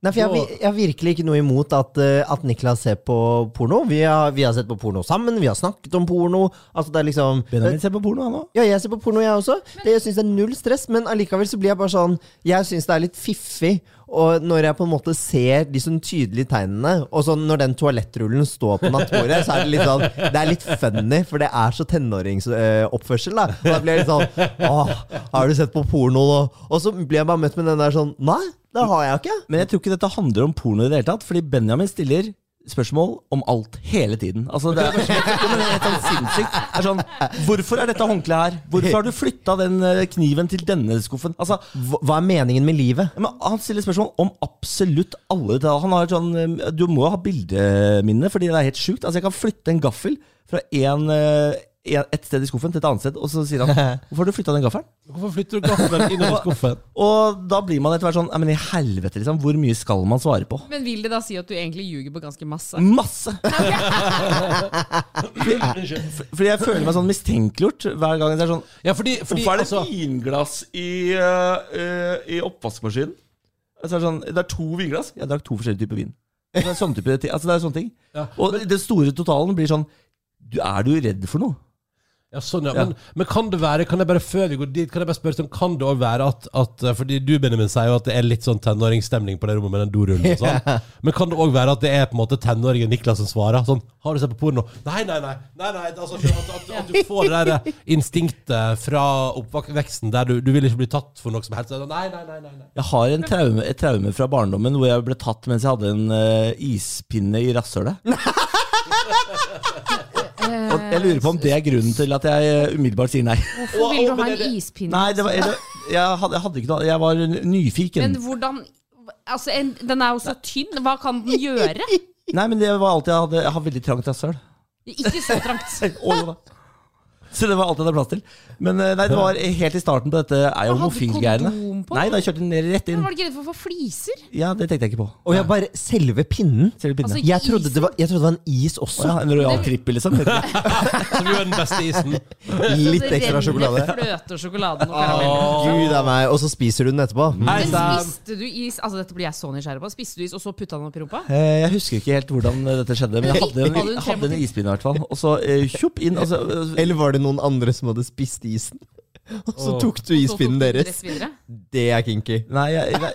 S2: Nei, for jeg, har vi- jeg har virkelig ikke noe imot at, eh, at Niklas ser på porno. Vi har, vi har sett på porno sammen, vi har snakket om porno. Altså, det er liksom
S1: Benjamin ser på porno, han òg.
S2: Ja, jeg ser på porno, jeg også. Det, jeg syns det er null stress, men allikevel så blir jeg bare sånn Jeg syns det er litt fiffig og når jeg på en måte ser de sånn tydelige tegnene, og sånn når den toalettrullen står på nattbordet, så er det litt sånn Det er litt funny, for det er så tenåringsoppførsel, da. Og da blir jeg litt sånn Åh, har du sett på porno nå? Og så blir jeg bare møtt med den der sånn Nei, det har jeg ikke.
S1: Men jeg tror ikke dette handler om porno i det hele tatt, fordi Benjamin stiller spørsmål om alt hele tiden. Altså, det er, det er helt sånn sinnssykt. Det er sånn, hvorfor er dette håndkleet her? Hvorfor har du flytta den eh, kniven til denne skuffen? Altså,
S2: Hva- Hva er meningen med livet?
S1: ja, men han stiller spørsmål om absolutt alle detaljer. Han har et sånn, eh, Du må jo ha bildeminne, fordi det er helt sjukt. Altså, jeg kan flytte en gaffel fra en, eh, et sted i skuffen til et annet sted, og så sier han 'Hvorfor har du flytta den gaffelen?'
S3: Hvorfor flytter du gaffelen
S1: *laughs*
S3: innover skuffen?
S1: Og da blir man etter hvert sånn «Nei, Men i helvete, liksom. Hvor mye skal man svare på?
S4: Men vil det da si at du egentlig ljuger på ganske masse?
S1: Masse! fordi, fordi jeg føler meg sånn mistenkeliggjort hver gang det er sånn
S3: Ja, fordi, fordi
S1: Hvorfor er det
S3: altså,
S1: vinglass i, eh, eh, i oppvaskmaskinen? Altså, det, er sånn, det er to vinglass. Jeg drakk to forskjellige typer vin. Altså, det er sånne type, ting- altså, det er sånne ting.
S3: Ja,
S1: og den store totalen blir sånn du, Er du redd for noe?
S3: ja, sånn, ja.
S1: Ja.
S3: Men, men kan det være, kan jeg bare før vi går dit, kan jeg bare spørre sånn, kan det òg være at, at eh, Fordi du, Benjamin, sier jo at det er litt sånn tenåringsstemning på det rommet med den dorullen og
S1: *laughs*
S3: sånn. Men kan det òg være at det er på en måte tenåringen Niklas som svarer? Sånn, har du sett på porno? Nei, nei, nei. nei, nei altså, at, at, at du får det der
S1: *laughs*
S3: eh, instinktet fra oppveksten der du, du vil ikke bli tatt for noe som helst. Nei, nei, nei. nei, nei.
S1: Jeg har en traume, et traume fra barndommen hvor jeg ble tatt mens jeg hadde en eh, ispinne i
S3: *laughs*
S1: rasshølet. Og jeg lurer på om det er grunnen til at jeg eh, umiddelbart
S3: *laughs*
S1: sier nei.
S4: Hvorfor vil du ha en ispinne?
S1: Nei, det var, eller, jeg, hadde, jeg hadde ikke noe Jeg var nyfiken.
S4: Men hvordan Altså, en, den er jo så tynn. Hva kan den gjøre?
S1: Nei, men det var alt jeg hadde. Jeg har veldig trangt rasshøl.
S4: Ikke så trangt.
S1: *laughs* Å, jo da. Så det var alt jeg hadde plass til. Men eh, nei, det var helt i starten på dette er jeg
S4: Hadde du
S1: homofil-greiene.
S4: kondom på?
S1: Nei, da kjørte den ned rett
S4: Men
S1: inn.
S4: Var det ikke redd for å få fliser?
S1: Ja, det tenkte jeg ikke på.
S2: Og jeg bare Selve pinnen?
S1: Ser du pinne?
S4: Altså,
S2: Jeg trodde det var, jeg trodde det var en is
S1: Å
S2: også.
S1: ja, en royal trippel, liksom.
S3: Som jo er den beste isen.
S2: Litt
S4: Altså, Det
S2: ekstra
S4: renner
S2: sjokolade.
S4: Fløte og sjokoladen og karamell.
S2: Gud a meg. Og så spiser du den etterpå.
S1: Nei,
S4: Men
S1: så-
S4: spiste du is Altså dette blir jeg så nysgjerrig på. Spiste du is, og så putta den opp i rumpa?
S1: Eh, Jeg husker ikke helt hvordan eh, dette skjedde, men jeg hadde
S4: Hadde du
S1: en,
S4: en
S1: hadde en
S4: krem-
S1: ispinne i hvert fall. Og så eh, tjopp inn.
S2: altså,
S1: Og så, eh,
S2: Eller var det noen andre som hadde spist isen? *laughs* Og så tok du
S4: Så tok
S2: ispinnen
S4: du den
S2: deres.
S4: rett videre?
S2: Det er kinky.
S1: nei, jeg, nei,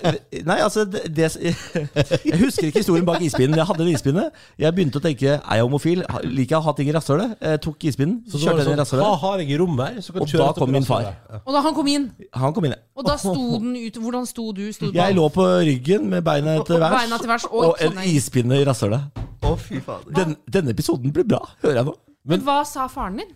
S1: nei, altså det, det, *laughs* Jeg husker ikke historien bak ispinnen. Jeg hadde en ispinne. Jeg begynte å tenke er jeg homofil? Ha- Liker jeg å ha ting i rasshølet? Eh, Tok ispinnen,
S3: Så da var
S1: kjørte
S3: det
S1: den i
S3: sånn, hva
S1: rasshølet.
S3: har jeg i rommet her? Så kan
S1: Og
S3: kjøre
S1: da
S3: dette på
S1: kom min far.
S3: rasshølet. Ja.
S4: Og da han kom inn,
S1: Han kom inn, ja.
S4: og da
S1: *laughs*
S4: sto den ut Hvordan sto du? Sto du
S1: Jeg lå på ryggen med beina til
S4: Og- og
S1: værs,
S4: beina til værs, og
S1: og en
S4: sånn er-
S1: ispinne i rasshølet.
S2: Å, fy fader.
S1: Den, denne episoden blir bra, hører jeg nå.
S4: Men hva sa faren din?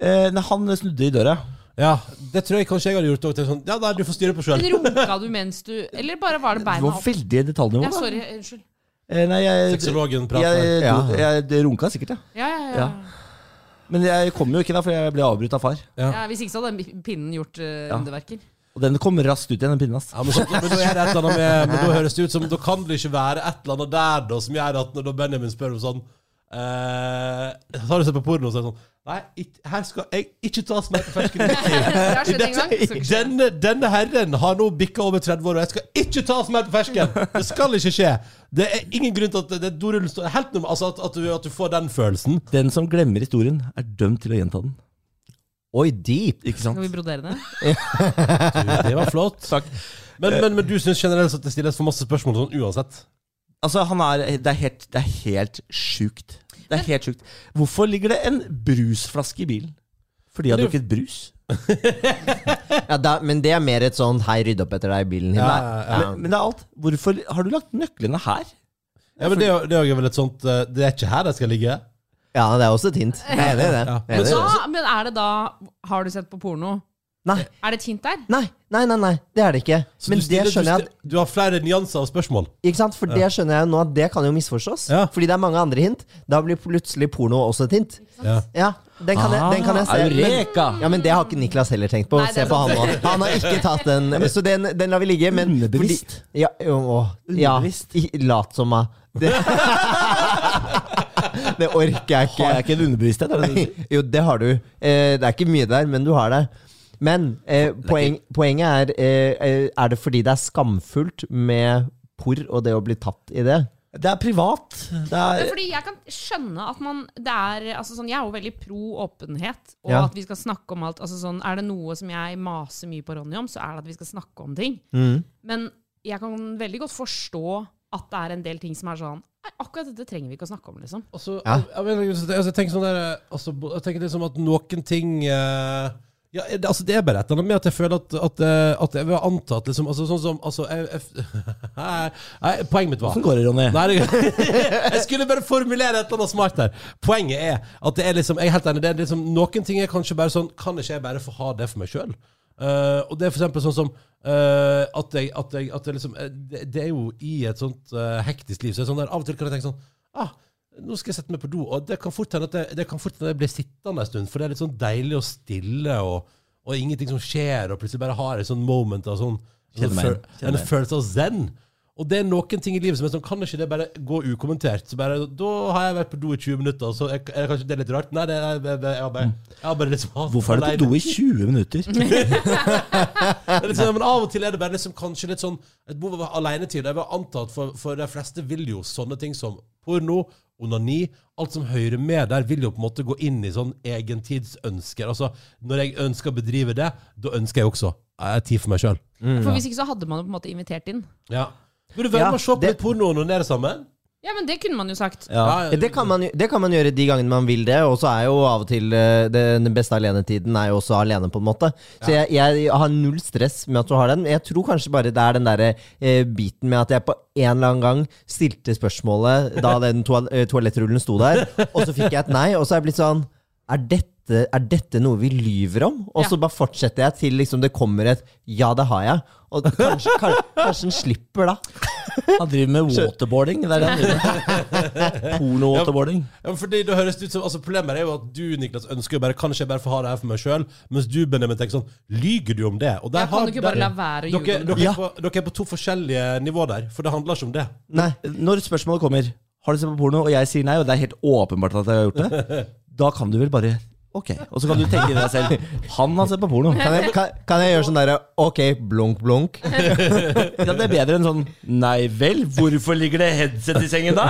S1: Eh, nei, han snudde i døra.
S3: Ja, det tror jeg kanskje jeg hadde gjort òg. Sånn, ja, nei, du får styre på sjøl.
S4: Men Runka du mens du Eller bare var det
S1: Det
S4: beina
S1: var
S4: opp?
S1: veldig detaljnivå.
S4: Ja,
S1: da.
S4: sorry. Unnskyld.
S1: Eh, nei, jeg,
S3: Sexologen prater.
S1: jeg,
S2: Ja.
S1: jeg, runka sikkert, ja.
S4: Ja, ja, ja.
S1: Ja. Men jeg kom jo ikke da, for jeg ble avbrutt av far.
S4: ja Hvis ikke så hadde den pinnen gjort eh, underverker.
S1: Og den kom raskt ut igjen, den pinnen hans.
S3: Ja, men, så, men, da er det et eller annet med, men da høres det ut som da kan det ikke være et eller annet der da, som gjør at når da Benjamin spør om sånn eh, Har du sett på porno? Så er det sånn Nei, ikk- her skal jeg ikke tas med på fersken.
S4: *laughs* Det har skjedd en gang. så ikke skje.
S3: Denne, denne herren har nå bikka over 30 år, og jeg skal ikke tas med på fersken! Det skal ikke skje! Det er ingen grunn til at det, det dorullen står helt norm- altså at, at, du, at du får den følelsen.
S1: Den som glemmer historien, er dømt til å gjenta den.
S2: Oi, deep.
S1: Ikke sant?
S4: Skal vi brodere det?
S3: Det var *laughs* flott. Men, men, men du syns generelt at det stilles for masse spørsmål sånn uansett?
S1: Altså, han er, det, er helt, det er helt sjukt. Det er helt sjukt. Hvorfor ligger det en brusflaske i bilen? Fordi jeg har drukket brus.
S2: Ja, da, men det er mer et sånn 'hei, rydd opp etter deg' i bilen. Hilde.
S1: Men, men det er alt. Hvorfor har du lagt nøklene her?
S3: Ja, men det, er jo- det er jo vel et sånt eh, Det er ikke her de skal ligge.
S2: Ja, det er også et hint. Jeg er enig i det.
S3: Ja.
S2: Jeg er enig i
S4: Da,
S2: det.
S4: men er det da Har du sett på porno?
S2: Nei,
S4: Er det et hint der?
S2: nei, nei, nei, nei, det er det ikke.
S3: Så
S2: Men
S3: du
S2: det
S3: stiller-
S2: skjønner jeg
S3: du,
S2: at
S3: sti- Du har flere nyanser av spørsmål.
S2: ikke sant? For det skjønner jeg jo nå at det kan jo misforstås.
S3: Ja.
S2: Fordi det er mange andre hint. Da blir plutselig porno også et hint.
S3: Ja.
S2: Ja, Den kan jeg, den kan jeg se.
S1: Ah, Eureka!
S2: Men, ja, men det har ikke Niklas heller tenkt på.
S4: Nei, det
S2: se
S4: er
S2: på han
S4: sant.
S2: nå. Han har ikke tatt
S1: *laughs*
S2: den. Så den, den lar vi ligge. Men
S1: Underbevisst.
S2: Fordi, ja, jo, å, ja,
S1: Underbevisst.
S2: i- lat som meg. *laughs* Det, det orker jeg ikke.
S1: Har jeg ikke en underbevissthet? Er det det du sier?
S2: Jo, det har du. Eh, det er ikke mye der, men du har det. Men eh, poeng, poenget er eh, eh, Er det fordi det er skamfullt med porr og det å bli tatt i det?
S1: *laughs* Det er privat. Det
S4: Men
S1: er,
S4: Fordi jeg kan skjønne at man det er, altså sånn, Jeg er jo veldig pro åpenhet, og
S2: Ja.
S4: at vi skal snakke om alt. Altså sånn, er det noe som jeg maser mye på Ronny om, så er det at vi skal snakke om ting.
S3: Mm.
S4: Men jeg kan veldig godt forstå at det er en del ting som er sånn Nei, akkurat dette trenger vi ikke å snakke om, liksom.
S3: Altså,
S2: Ja.
S3: jeg, jeg, mener, altså, jeg tenker sånn der eh, altså, bo- Jeg tenker liksom at noen ting eh, ja, det, altså det er bare et eller annet med at jeg føler at, at, eh, at jeg vil ha antatt liksom, altså, Sånn som altså, jeg, *laughs* jeg, Nei, Poenget mitt var
S1: Hvordan går det, Ronny?
S3: Nei, det, jeg skulle bare formulere et eller annet smart der. Poenget er at det er liksom, jeg er helt enig, det er liksom, noen ting er kanskje bare sånn Kan ikke jeg bare få ha det for meg sjøl? og det er for eksempel sånn som eh, at, jeg, at, jeg, at jeg liksom eh, det, det er jo i et sånt eh, hektisk liv, så er det sånn der, av og til kan jeg tenke sånn ah, Nå skal jeg sette meg på do. Og det kan fort hende at jeg, det kan fort hende at jeg blir sittende en stund, for det er litt sånn deilig og stille, og, og ingenting som skjer, og plutselig bare har et sånn moment av sånn
S1: Kjenner meg igjen.
S3: en følelse av zen. Og det er noen ting i livet som er sånn, kan ikke det bare gå ukommentert? Så bare, Da har jeg vært på do i 20 minutter, så er, er kanskje det litt rart? Nei, det er, jeg, jeg, jeg, har bare- jeg har bare liksom hatt
S1: Hvorfor er det på do i 20 minutter? *laughs*
S3: det er litt sånn, men av og til er det bare liksom kanskje litt sånn Et behov for alenetid. Jeg vil anta at for, for de fleste vil jo sånne ting som porno, onani Alt som hører med der, vil jo på en måte gå inn i sånn egentidsønsker. Altså, når jeg ønsker å bedrive det, da ønsker jeg også eh, tid for meg sjøl.
S4: For hvis ikke så hadde man jo på en måte invitert inn.
S3: Ja. Vil du være
S2: Ja,
S3: med og se på
S2: det-
S3: litt porno og onanere sammen?
S4: Ja, men det kunne man jo sagt.
S3: Ja,
S2: Ja, det, kan man, jo- det kan man gjøre de gangene man vil det, og så er jo av og til eh, den beste alenetiden er jo også alene, på en måte. Så jeg, jeg har null stress med at du har den. Jeg tror kanskje bare det er den derre eh, biten med at jeg på en eller annen gang stilte spørsmålet da den toal eh, toalettrullen sto der, og så fikk jeg et nei, og så er jeg blitt sånn Er dette, er dette noe vi lyver om? Og så
S4: Ja.
S2: bare fortsetter jeg til liksom det kommer et ja, det har jeg. Og kanskje, kan- kanskje den slipper da.
S1: Han driver med waterboarding. Det er det han driver med. Porno-waterboarding.
S3: Ja, men fordi det høres ut som, altså Problemet er jo at du Niklas, ønsker jo bare Kanskje jeg bare får ha det her for meg sjøl, mens du Benjamin, tenker sånn Lyger du om det? Og der
S4: Jeg kan
S3: har-
S4: jo ikke bare
S3: der-
S4: la være å ljuge
S3: dere,
S4: om
S3: dere,
S4: det.
S3: er på, dere er på to forskjellige nivåer der, for det handler ikke om det.
S2: Nei.
S1: Når spørsmålet kommer Har du sett på porno, og jeg sier nei, og det er
S2: *laughs*
S1: helt åpenbart at jeg har *laughs* gjort det, da kan du vel bare Ok. Og så kan du tenke i deg selv Han har sett på porno.
S2: Kan jeg, kan, kan jeg gjøre sånn derre ok, blunk, blunk?
S1: Ja, det er bedre enn sånn Nei vel, hvorfor ligger det headset i sengen da?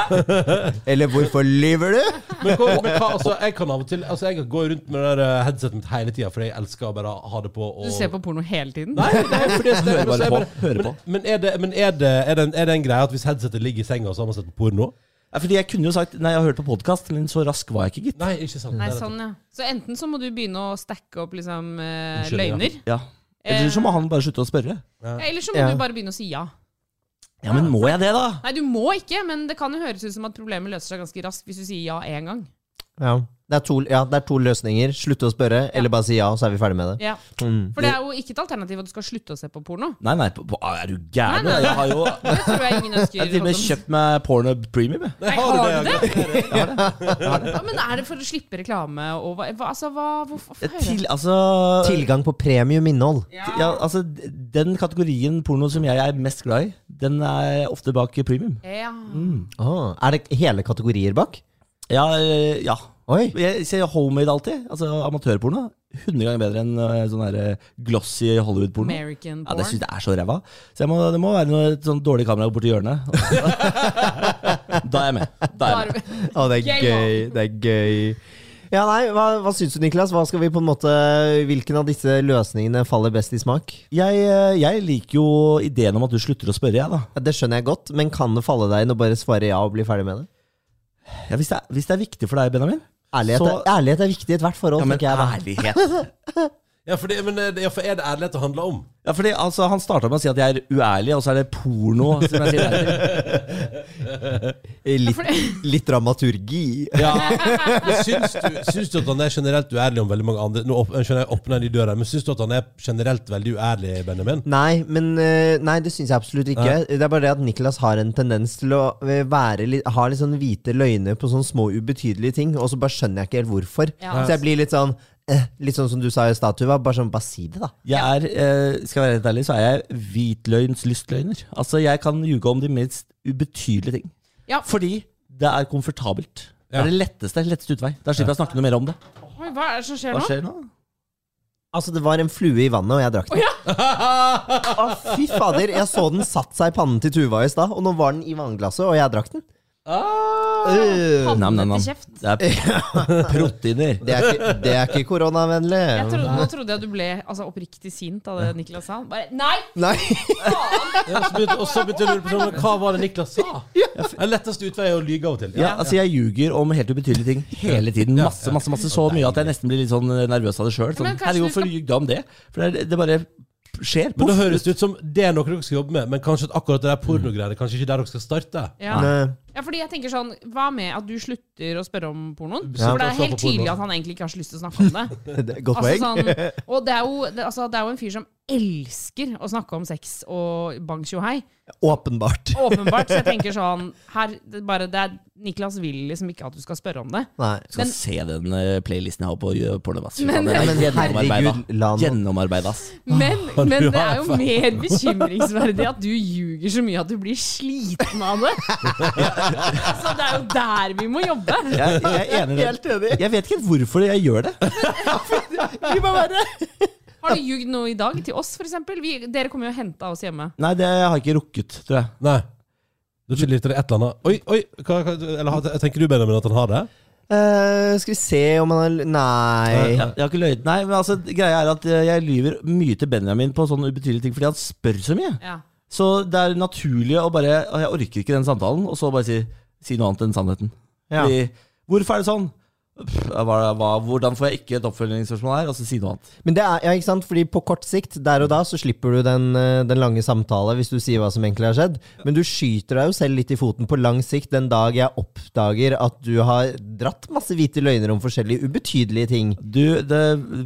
S2: Eller hvorfor lyver du?
S3: Men, hva, *laughs* men hva, altså, jeg kan av og til Altså, jeg går rundt med det der eh, headsetet mitt hele tida, fordi jeg elsker å bare ha det på. Og...
S4: Du
S3: *laughs*
S4: ser på porno hele tiden.
S3: Nei, nei fordi jeg,
S1: Hører bare
S3: jeg
S1: på. Hører på.
S3: men, men, er det, men er, det, er, det en, er det en greie at hvis headsetet ligger i senga, så har man sett på porno?
S1: Ja, fordi jeg kunne jo sagt Nei, jeg har hørt på podkast, men så rask var jeg ikke, gitt.
S3: Nei, ikke sant.
S4: Nei,
S3: Det er
S4: sånn, ja. Så enten så må du begynne å stacke opp liksom, eh,
S3: Unnskyld, ja.
S4: løgner,
S1: Ja. Eller
S4: Eh.
S1: så må han bare slutte å spørre.
S4: ja, eller så må
S2: Ja.
S4: du bare begynne å si ja.
S1: Ja, men må jeg det, da?
S4: Nei, du må ikke, men det kan jo høres ut som at problemet løser seg ganske raskt hvis du sier ja én gang.
S2: Ja. Det er to, ja, det er to løsninger. Slutte å spørre, eller bare si ja, så er vi ferdig med det.
S4: Ja. For det er jo ikke et alternativ at du skal slutte å se på porno.
S1: Nei, nei, på, på, er du gæren?
S4: Nei, nei.
S1: Jeg har jo jeg
S4: Det tror jeg ingen ønsker.
S1: har til og med
S4: Håkon.
S1: kjøpt meg Pornhub Premium. jeg.
S4: Nei, har du det? *laughs*
S1: Jeg
S4: Ja, men er det for å slippe reklame og hva, hva, altså, hva hvorfor,
S1: har det.
S4: hvorfor
S1: Til, altså,
S2: Tilgang på premium innhold.
S1: ja, altså, den kategorien porno som jeg er mest glad i, den er ofte bak premium.
S4: Ja.
S2: Ah, er det hele kategorier bak?
S1: Ja, eh, ja.
S2: Oi.
S1: Jeg ser homemade alltid. Altså amatørporno. 100 ganger bedre enn eh, sånn her eh, glossy Hollywood-porno.
S4: American
S1: Ja, det
S4: porn.
S1: syns jeg er så ræva. Så jeg må, det må være noe et sånn dårlig kamera borti *laughs* hjørnet. da er jeg med. Da er jeg med.
S4: Bare-
S2: Å, det er
S4: Game
S2: gøy. Det er gøy. Ja, nei, hva, hva syns du, Niklas? Hva skal vi på en måte, hvilken av disse løsningene faller best i smak?
S1: Jeg, eh, jeg liker jo ideen om at du slutter å spørre, jeg, da.
S2: Ja, det skjønner jeg godt, men kan det falle deg inn å bare svare ja og bli ferdig med det?
S1: Ja, hvis, det er, hvis det er viktig for deg, Benjamin.
S2: Ærlighet,
S1: Så-
S2: er, ærlighet er viktig i ethvert forhold, tenker jeg. da.
S1: ærlighet.
S3: Ja, for, det, men, eh, det- ja, for er det ærlighet det handler om?
S1: Ja, fordi altså, Han starta med å si at jeg er uærlig, og så er det porno. Som jeg
S4: *laughs*
S1: sier ærlig.
S4: for
S2: Litt,
S4: det-
S2: litt dramaturgi.
S3: Ja. Men syns, du, syns du at han er generelt uærlig om veldig mange andre Nå opp, skjønner jeg åpner de døra, men syns du at han er generelt veldig uærlig, Benjamin?
S2: Nei, men eh, Nei, det syns jeg absolutt ikke. Det er bare det at Niklas har en tendens til å eh, være litt, ha litt sånn hvite løgner på sånne små ubetydelige ting, og så bare skjønner jeg ikke helt hvorfor.
S4: Ja.
S2: Så jeg blir litt sånn eh, Litt sånn som du sa i stad, Tuva. Bare sånn, bare si det, da.
S1: Jeg er, eh, skal jeg være helt ærlig, så er jeg hvitløgns lystløgner. Altså, Jeg kan ljuge om de minst ubetydelige ting.
S4: Ja.
S1: Fordi det er komfortabelt. Det er det letteste, letteste utvei. Da slipper jeg å snakke noe mer om det.
S4: Oi, hva er det som skjer
S1: Hva
S4: nå?
S1: skjer nå?
S2: Altså, det var en flue i vannet, og jeg drakk den. *laughs* Å, fy fader. Jeg så den satt seg i pannen til Tuva i stad, og nå var den i vannglasset, og jeg drakk den. Øh,
S4: Padden
S1: Nam, nam, nam.
S4: etter kjeft.
S1: Det er
S4: *laughs*
S1: proteiner.
S2: det, er ikke, det er ikke koronavennlig.
S4: Jeg trodde, nå trodde jeg du ble altså, oppriktig sint av det Niklas sa. Bare, nei!
S2: Nei.
S3: Ja, så begynte, og så begynte jeg å lure på sånn, men hva var det Niklas sa? Den letteste utvei er å lyge av og til.
S1: Ja, altså Jeg ljuger om helt ubetydelige ting hele tiden. Masse, masse, masse Så mye at jeg nesten blir litt sånn nervøs av det sjøl. Sånn,
S4: Men
S1: Herregud,
S4: kanskje du skal-
S1: hvorfor ljug du om det? For det, er- det bare skjer.
S3: Men det
S1: Poff.
S3: høres det ut som det er noe dere skal jobbe med, men kanskje at akkurat det der pornogreiene Kanskje ikke der dere skal starte.
S4: Ja.
S2: Nei.
S4: ja, fordi jeg tenker sånn Hva med at du slutter å spørre om pornoen?
S3: Ja.
S4: For det er helt
S3: Slutter å se på porno. *laughs*
S4: tydelig at han egentlig ikke har så lyst til å snakke om det.
S2: Det er Godt
S4: Altså
S2: poeng.
S4: sånn, og det er, jo, det, altså, det er jo en fyr som elsker å snakke om sex og bang tjohei.
S2: Åpenbart.
S4: Åpenbart. Så jeg tenker sånn her, det er bare, det er, Niklas vil liksom ikke at du skal spørre om det.
S2: Nei.
S1: Skal
S4: Men-
S1: se den eh, playlisten jeg har på eh, porno. ass. Fy
S4: Men-
S1: faen, den er
S2: Ja, men
S1: gjennomarbeida.
S2: herregud, la nå-
S1: Gjennomarbeida, ass.
S4: Men, men
S3: Ah, du
S4: det
S3: har
S4: er jo mer bekymringsverdig at du ljuger så mye at du blir sliten
S3: *laughs*
S4: av det. Så det er jo der vi må jobbe.
S1: Jeg, jeg er enig i det.
S2: Helt enig.
S1: Jeg vet ikke hvorfor jeg gjør det. *laughs*
S2: Gi meg være.
S4: Har du ljugd noe i dag til oss, f.eks.? Dere kommer jo og henta oss hjemme.
S1: Nei, det har jeg ikke rukket, tror jeg.
S3: Nei. Du har ikke livt det et eller annet Oi, oi! Hva, hva, eller har- tenker du, Benjamin, at han har det?
S2: Eh, skal vi se om han har
S1: Jeg,
S2: Nei.
S1: jeg har ikke løyet. Nei, men altså, greia er at eh, jeg lyver mye til Benjamin på sånne ubetydelige ting, fordi han spør så mye.
S4: Ja.
S1: Så det er naturlig å bare «Å, Jeg orker ikke den samtalen, og så bare si, si noe annet enn sannheten.
S2: Ja.
S1: Fordi, hvorfor er det sånn? Pff, Hva, hva, hvordan får jeg ikke et oppfølgingsspørsmål her? Og så si noe annet.
S2: Men det er, ja, ikke sant? Fordi på kort sikt, der og da, så slipper du den, eh, den lange samtale hvis du sier hva som egentlig har skjedd. Men du skyter deg jo selv litt i foten på lang sikt den dag jeg oppdager at du har dratt masse hvite løgner om forskjellige ubetydelige ting.
S1: Du, det,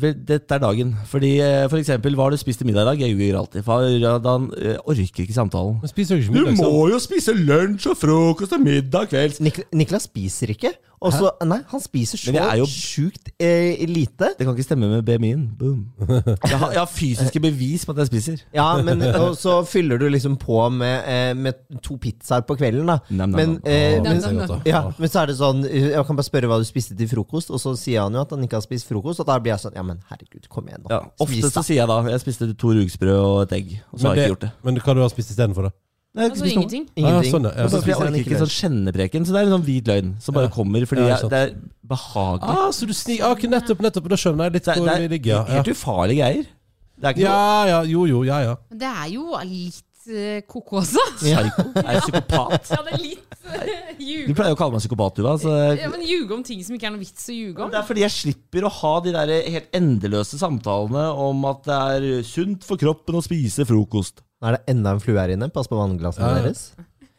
S1: vel, dette er dagen. Fordi eh, for eksempel, hva har du spist til middag i dag? Jeg ljuger alltid. For ja, da eh, orker ikke samtalen.
S3: Men spiser jo ikke middag sammen.
S1: jo spise lunsj og frokost og middag kvelds.
S2: Nik Niklas spiser ikke. Og så, nei, han spiser så
S1: Men jeg er jo-
S2: sjukt eh, lite.
S1: Det kan ikke stemme med BMI-en. Boom. Jeg har, jeg har fysiske bevis på at jeg spiser.
S2: Ja,
S1: *laughs*
S2: men og så fyller du liksom på med, eh, med to pizzaer på kvelden, da.
S1: Nam, nam,
S2: Men,
S1: nam.
S2: eh,
S3: Å,
S4: Nam,
S2: men,
S3: det er godt, da.
S2: ja, men så er det sånn eh, Jeg kan bare spørre hva du spiste til frokost, og så sier han jo at han ikke har spist frokost. Og da blir jeg sånn Ja, men herregud, kom igjen, nå.
S1: Ja, ofte
S2: Spis,
S1: så
S2: da.
S1: sier jeg da jeg spiste to rugsprø og et egg. Og så har jeg ikke gjort det.
S3: Men hva du har spist istedenfor, da?
S1: Nei, jeg har ikke
S4: Altså
S1: spist noe.
S4: ingenting.
S2: Ingenting.
S3: Ah, ja, sånn, ja.
S1: Og så
S2: spiser
S1: jeg
S2: han
S1: orker
S2: ikke
S1: ikke sånn kjennepreken. Så det er en sånn hvit løgn som bare
S3: Ja.
S1: kommer fordi
S3: Ja,
S1: jeg,
S3: sant.
S1: det er behagelig.
S3: Ah, så du snik... Ah, ok, nettopp, nettopp. Da skjønner jeg litt
S1: det,
S3: hvor
S1: er,
S3: vi
S1: det
S3: ligger.
S1: er
S3: Ja.
S1: helt ufarlige greier. Det er ikke
S3: ja, ja. Jo, jo. Ja, ja.
S4: Men det er jo litt eh, ko-ko også.
S1: *laughs* noe psyko. Jeg er psykopat.
S4: Ja, det er litt eh,
S1: Du
S4: ljug.
S1: pleier jo å kalle meg psykopat, du, hva?
S4: *laughs*
S1: Så
S4: Ja, men ljuge om ting som ikke er noe vits å ljuge om.
S1: Det er fordi jeg slipper å ha de der helt endeløse samtalene om at det er sunt for kroppen å spise frokost.
S2: Nå er det enda en flue her inne. Pass på vannglassene
S3: Ja, ja.
S2: deres.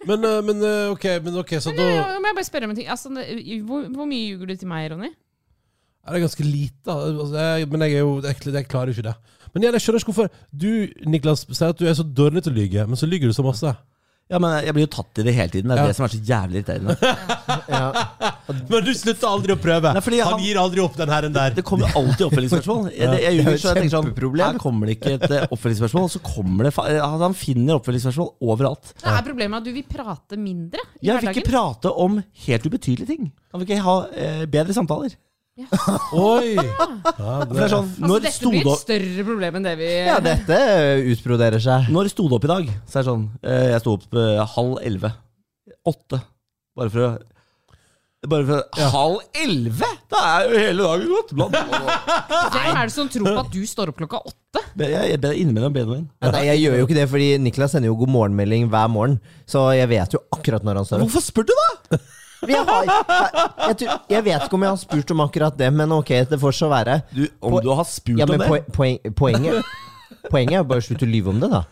S3: Men, eh, men eh, OK, men ok, så da
S4: Ja, ja, må jeg bare spørre om en ting? Altså, det- hvor, hvor mye ljuger du til meg, Ronny?
S3: er det ganske lite. da. Altså, jeg, men jeg er jo jeg, jeg klarer jo ikke det. Men igjen, jeg skjønner ikke hvorfor du, Niklas, sier at du er så dårlig til å lyge, men så lyger du så masse.
S1: Ja, men jeg blir jo tatt i det hele tiden. Det er
S3: Ja.
S1: det som er så jævlig irriterende.
S3: Men du slutter aldri å prøve.
S1: Nei, fordi han-
S3: gir aldri opp den herren der.
S1: Det kommer alltid oppfølgingsspørsmål. Jeg, jeg, jeg,
S2: er
S1: ljuger,
S2: et
S1: så jeg tenker sånn,
S2: kjempeproblem.
S1: Her kommer det ikke et eh, oppfølgingsspørsmål, og så kommer det fa altså, Han finner oppfølgingsspørsmål overalt.
S4: Det er problemet at du vil prate mindre i
S1: Jeg vil ikke
S4: hverdagen.
S1: prate om helt ubetydelige ting. Kan vi ikke ha eh, bedre samtaler?
S3: Oi! Ja,
S1: For det er
S3: det,
S1: sånn,
S4: Altså,
S1: når
S4: dette
S1: sto
S4: blir
S1: det
S4: et
S1: opp
S4: større problem enn det vi
S2: Ja, dette utbroderer seg.
S1: når sto det opp i dag? Så er det sånn eh, Jeg sto opp eh, halv elleve. Åtte. Bare for å Bare for å Halv elleve?! Da er jo hele dagen gått! Blant
S4: Hvem er det som tror på at du står opp klokka åtte?
S1: Men Jeg jeg ber innimellom Benjamin.
S2: Ja, Nei, jeg gjør jo ikke det, fordi Niklas sender jo god morgen-melding hver morgen. Så jeg vet jo akkurat når han står opp.
S1: Hvorfor spør du, da?!
S2: Men Jeg, har, jeg, jeg, tror- jeg vet ikke om jeg har spurt om akkurat det, men ok, det får så være.
S1: Du, om
S2: På-
S1: du har spurt
S2: Ja,
S1: om
S2: men
S1: det?
S2: poe- poeng, poenget Poenget er jo bare å slutte å lyve om det, da.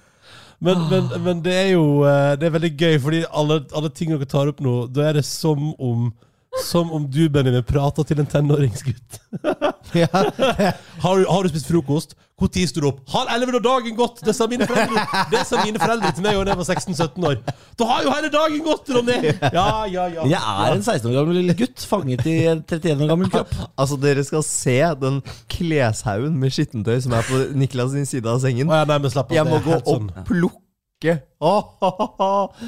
S3: men,
S2: Ah.
S3: men, men det er jo eh, Det er veldig gøy, fordi alle, alle ting dere tar opp nå, da er det som om som om du, Benjamin, prater til en
S2: *laughs*
S3: tenåringsgutt. *laughs* har, du, har du spist frokost? Når sto du opp? Halv elleve når dagen gått! Det sa mine foreldre Det sa mine foreldre til meg da jeg var 16-17 år. Da har jo hele dagen gått,
S2: *laughs*
S3: Ronny! Ja, ja, ja.
S1: Jeg er en 16 år gammel lille gutt fanget i en 31 år gammel kropp.
S2: Altså, dere skal se den kleshaugen med skittentøy som er på Niklas sin side av sengen.
S3: Å, ja, nei, men slapp av.
S2: Jeg
S3: det
S2: må
S3: er
S2: gå
S3: helt
S2: og plukke.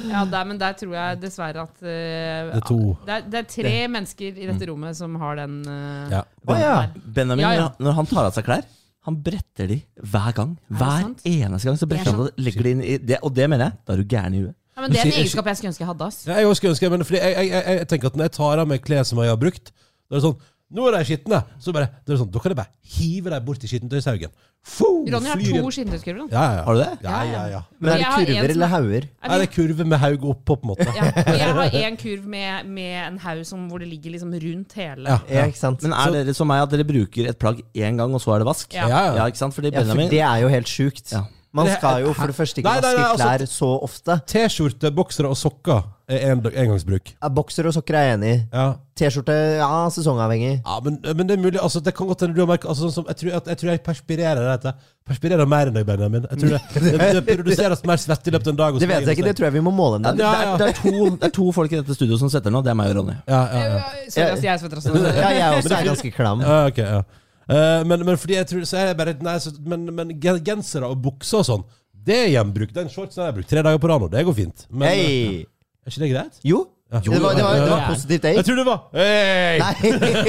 S4: Ja, der, men der tror jeg dessverre at eh,
S3: Det er to. Mm.
S4: Det er, det er tre mennesker i dette rommet som har den eh,
S3: Ja.
S2: *laughs* Å ja.
S1: Ah, Benjamin,
S4: Ja, ja.
S1: når han- når han tar av seg klær han bretter de hver gang. Hver
S4: sant?
S1: eneste gang. så bretter
S4: Det er
S1: han og legger de inn i det, Og det mener jeg. Da er du gæren i huet.
S4: Ja, men Det er
S3: Du
S4: en
S3: sier-
S4: egenskap jeg skulle ønske jeg hadde. ass.
S3: Ja, jeg også skulle ønske men fordi jeg, jeg, jeg, jeg tenker at når jeg tar av meg klær som jeg har brukt, da er det sånn Nå er de skitne. Så bare, det er sånn, da kan jeg bare hive dem bort i skittentøyshaugen. Foo,
S4: Ronny har
S3: flyr
S4: to
S3: inn.
S4: skinnutkurver.
S3: ja, ja.
S1: Har du det?
S3: Ja, ja, ja.
S2: Men er
S4: Jeg
S2: det
S4: har en som
S2: kurver
S4: er-
S2: eller hauger?
S3: Er det kurve med haug oppå, på en *laughs* måte?
S4: Ja, og jeg har en kurv med, med en haug som, hvor det ligger liksom rundt hele.
S3: Ja.
S2: Ja, ikke sant?
S1: Men er dere som meg at dere bruker et plagg én gang, og så er det vask?
S4: Ja.
S3: Ja, ja.
S1: ikke sant? Fordi
S2: Ja, for
S1: Benjamin
S2: det er jo helt sjukt.
S1: Ja.
S2: Man
S3: Det-
S2: skal jo for det første ikke
S3: Nei, nei, nei,
S2: vaske
S3: altså-
S2: klær så ofte.
S3: T-skjorte, boksere og sokker er en, engangsbruk.
S2: Ja, Bokser og sokker er jeg enig i.
S3: Ja.
S2: T-skjorte, ja, sesongavhengig.
S3: Ja, men, men det er mulig. altså Det kan godt hende du har merket altså, sånn som, jeg, tror, at- jeg tror jeg perspirerer dette. Perspirerer mer enn deg, Benjamin. Jeg tror det, det, det produseres mer svette i løpet av en dag.
S2: Det vet jeg ikke, det tror jeg vi må måle en
S1: Det,
S2: dag.
S3: Ja,
S1: er,
S3: ja.
S1: det, er to, det er to folk i dette studioet som setter nå. Det er meg og Ronny.
S3: Ja, ja, ja.
S4: Sorry, ass, jeg svetter også.
S3: *laughs*
S2: Ja, jeg også er ganske klam.
S3: Ja, ok, ja. Eh, men, men fordi jeg tror Så er jeg bare Nei, så, men, men gen- gensere og bukser og sånn, det er gjenbruk. Den shortsen har jeg brukt tre dager på rad nå. Det går fint. Men eh,
S2: Hei!
S3: er ikke det greit?
S2: Jo, det var, det var, det var
S4: Ja.
S2: positivt,
S3: Jeg
S2: jeg.
S3: tror det var Hei!
S2: Nei,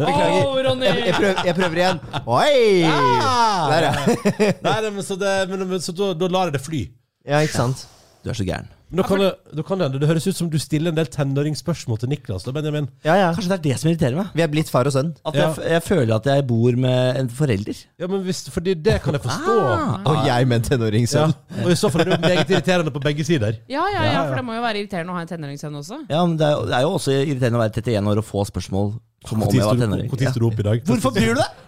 S2: *laughs* jeg,
S4: Åh, Ronny!
S2: prøver, jeg prøver igjen. Oi! Der, ja. *laughs*
S3: Nei, nei, men så, det, men, men, så da, da lar jeg det fly.
S2: Ja, ikke sant.
S1: Du er så gæren.
S3: Men da kan, det, da kan det hende. Det høres ut som du stiller en del tenåringsspørsmål til Niklas. Da, Benjamin.
S2: Ja, ja.
S1: Kanskje det er det som irriterer meg?
S2: Vi er blitt far og sønn.
S1: At jeg, jeg føler at jeg bor med en forelder.
S3: Ja, men hvis, fordi det kan jeg forstå.
S2: Og jeg med en
S3: Ja.
S2: tenåringssønn.
S3: Og i så fall er det jo meget irriterende på begge sider.
S4: Ja, ja, ja, for det må jo være irriterende å ha en tenåringssønn også.
S1: Ja, men det er, jo- det er jo også irriterende å være 31 år og få spørsmål som om
S3: Når
S1: jeg var tenåring. Ja.
S3: sto du opp i dag?
S1: Hvorfor bryr du deg?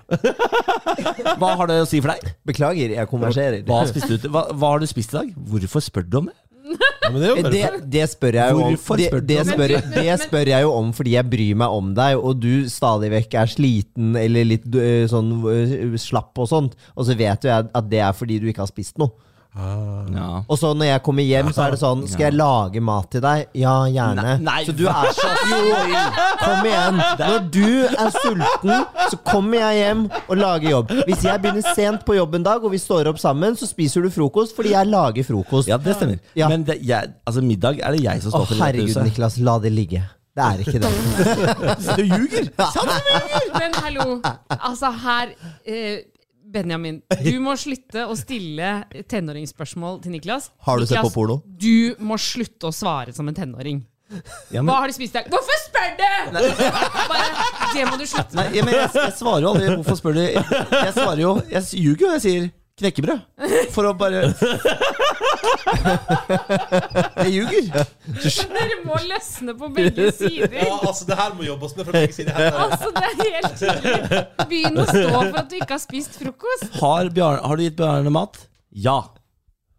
S1: *laughs* Hva har det å si for deg?
S2: Beklager, jeg konverserer.
S1: Hva, spiste du, til- hva, hva har du spist i dag? Hvorfor spør du om det?
S3: Ja, men det er jo bare
S2: Det, det spør jeg jo om.
S1: Hvorfor
S2: Det,
S1: spør du
S2: det,
S1: om det?
S2: spør, det spør jeg jo om fordi jeg bryr meg om deg, og du stadig vekk er sliten eller litt øh, sånn øh, slapp og sånt, og så vet jo jeg at det er fordi du ikke har spist noe.
S1: Ja.
S2: Og så når jeg kommer hjem, så er det sånn Skal jeg lage mat til deg? Ja, gjerne.
S1: Nei,
S2: Så du er så Jo, kom igjen. Når du er sulten, så kommer jeg hjem og lager jobb. Hvis jeg begynner sent på jobb en dag, og vi står opp sammen, så spiser du frokost fordi jeg lager frokost.
S1: Ja, det stemmer.
S2: Ja.
S1: Men det, jeg, altså, middag er det jeg som
S2: Å,
S1: står for. i dette
S2: herregud,
S1: huset.
S2: Niklas. La det ligge. Det er ikke det.
S1: *laughs* Du ljuger!
S4: Men hallo, altså her eh, Benjamin, du må slutte å stille tenåringsspørsmål til Niklas.
S2: Har du sett
S4: Niklas,
S2: på porno?
S4: Du må slutte å svare som en tenåring. Hva har du spist i dag? Hvorfor spør du?! Bare, det må du slutte
S1: Nei,
S4: med.
S1: men jeg, jeg svarer jo aldri. Hvorfor spør du? Jeg svarer jo Jeg ljuger jo. Jeg sier knekkebrød. For å bare *laughs* Jeg ljuger.
S4: Dere må løsne på begge sider.
S3: Ja, altså, det her må jobbes med fra begge sider. Her.
S4: Altså, det er helt tydelig. Begynn å stå for at du ikke har spist frokost.
S1: Har, Bjarne, har du gitt Bjarne mat? Ja.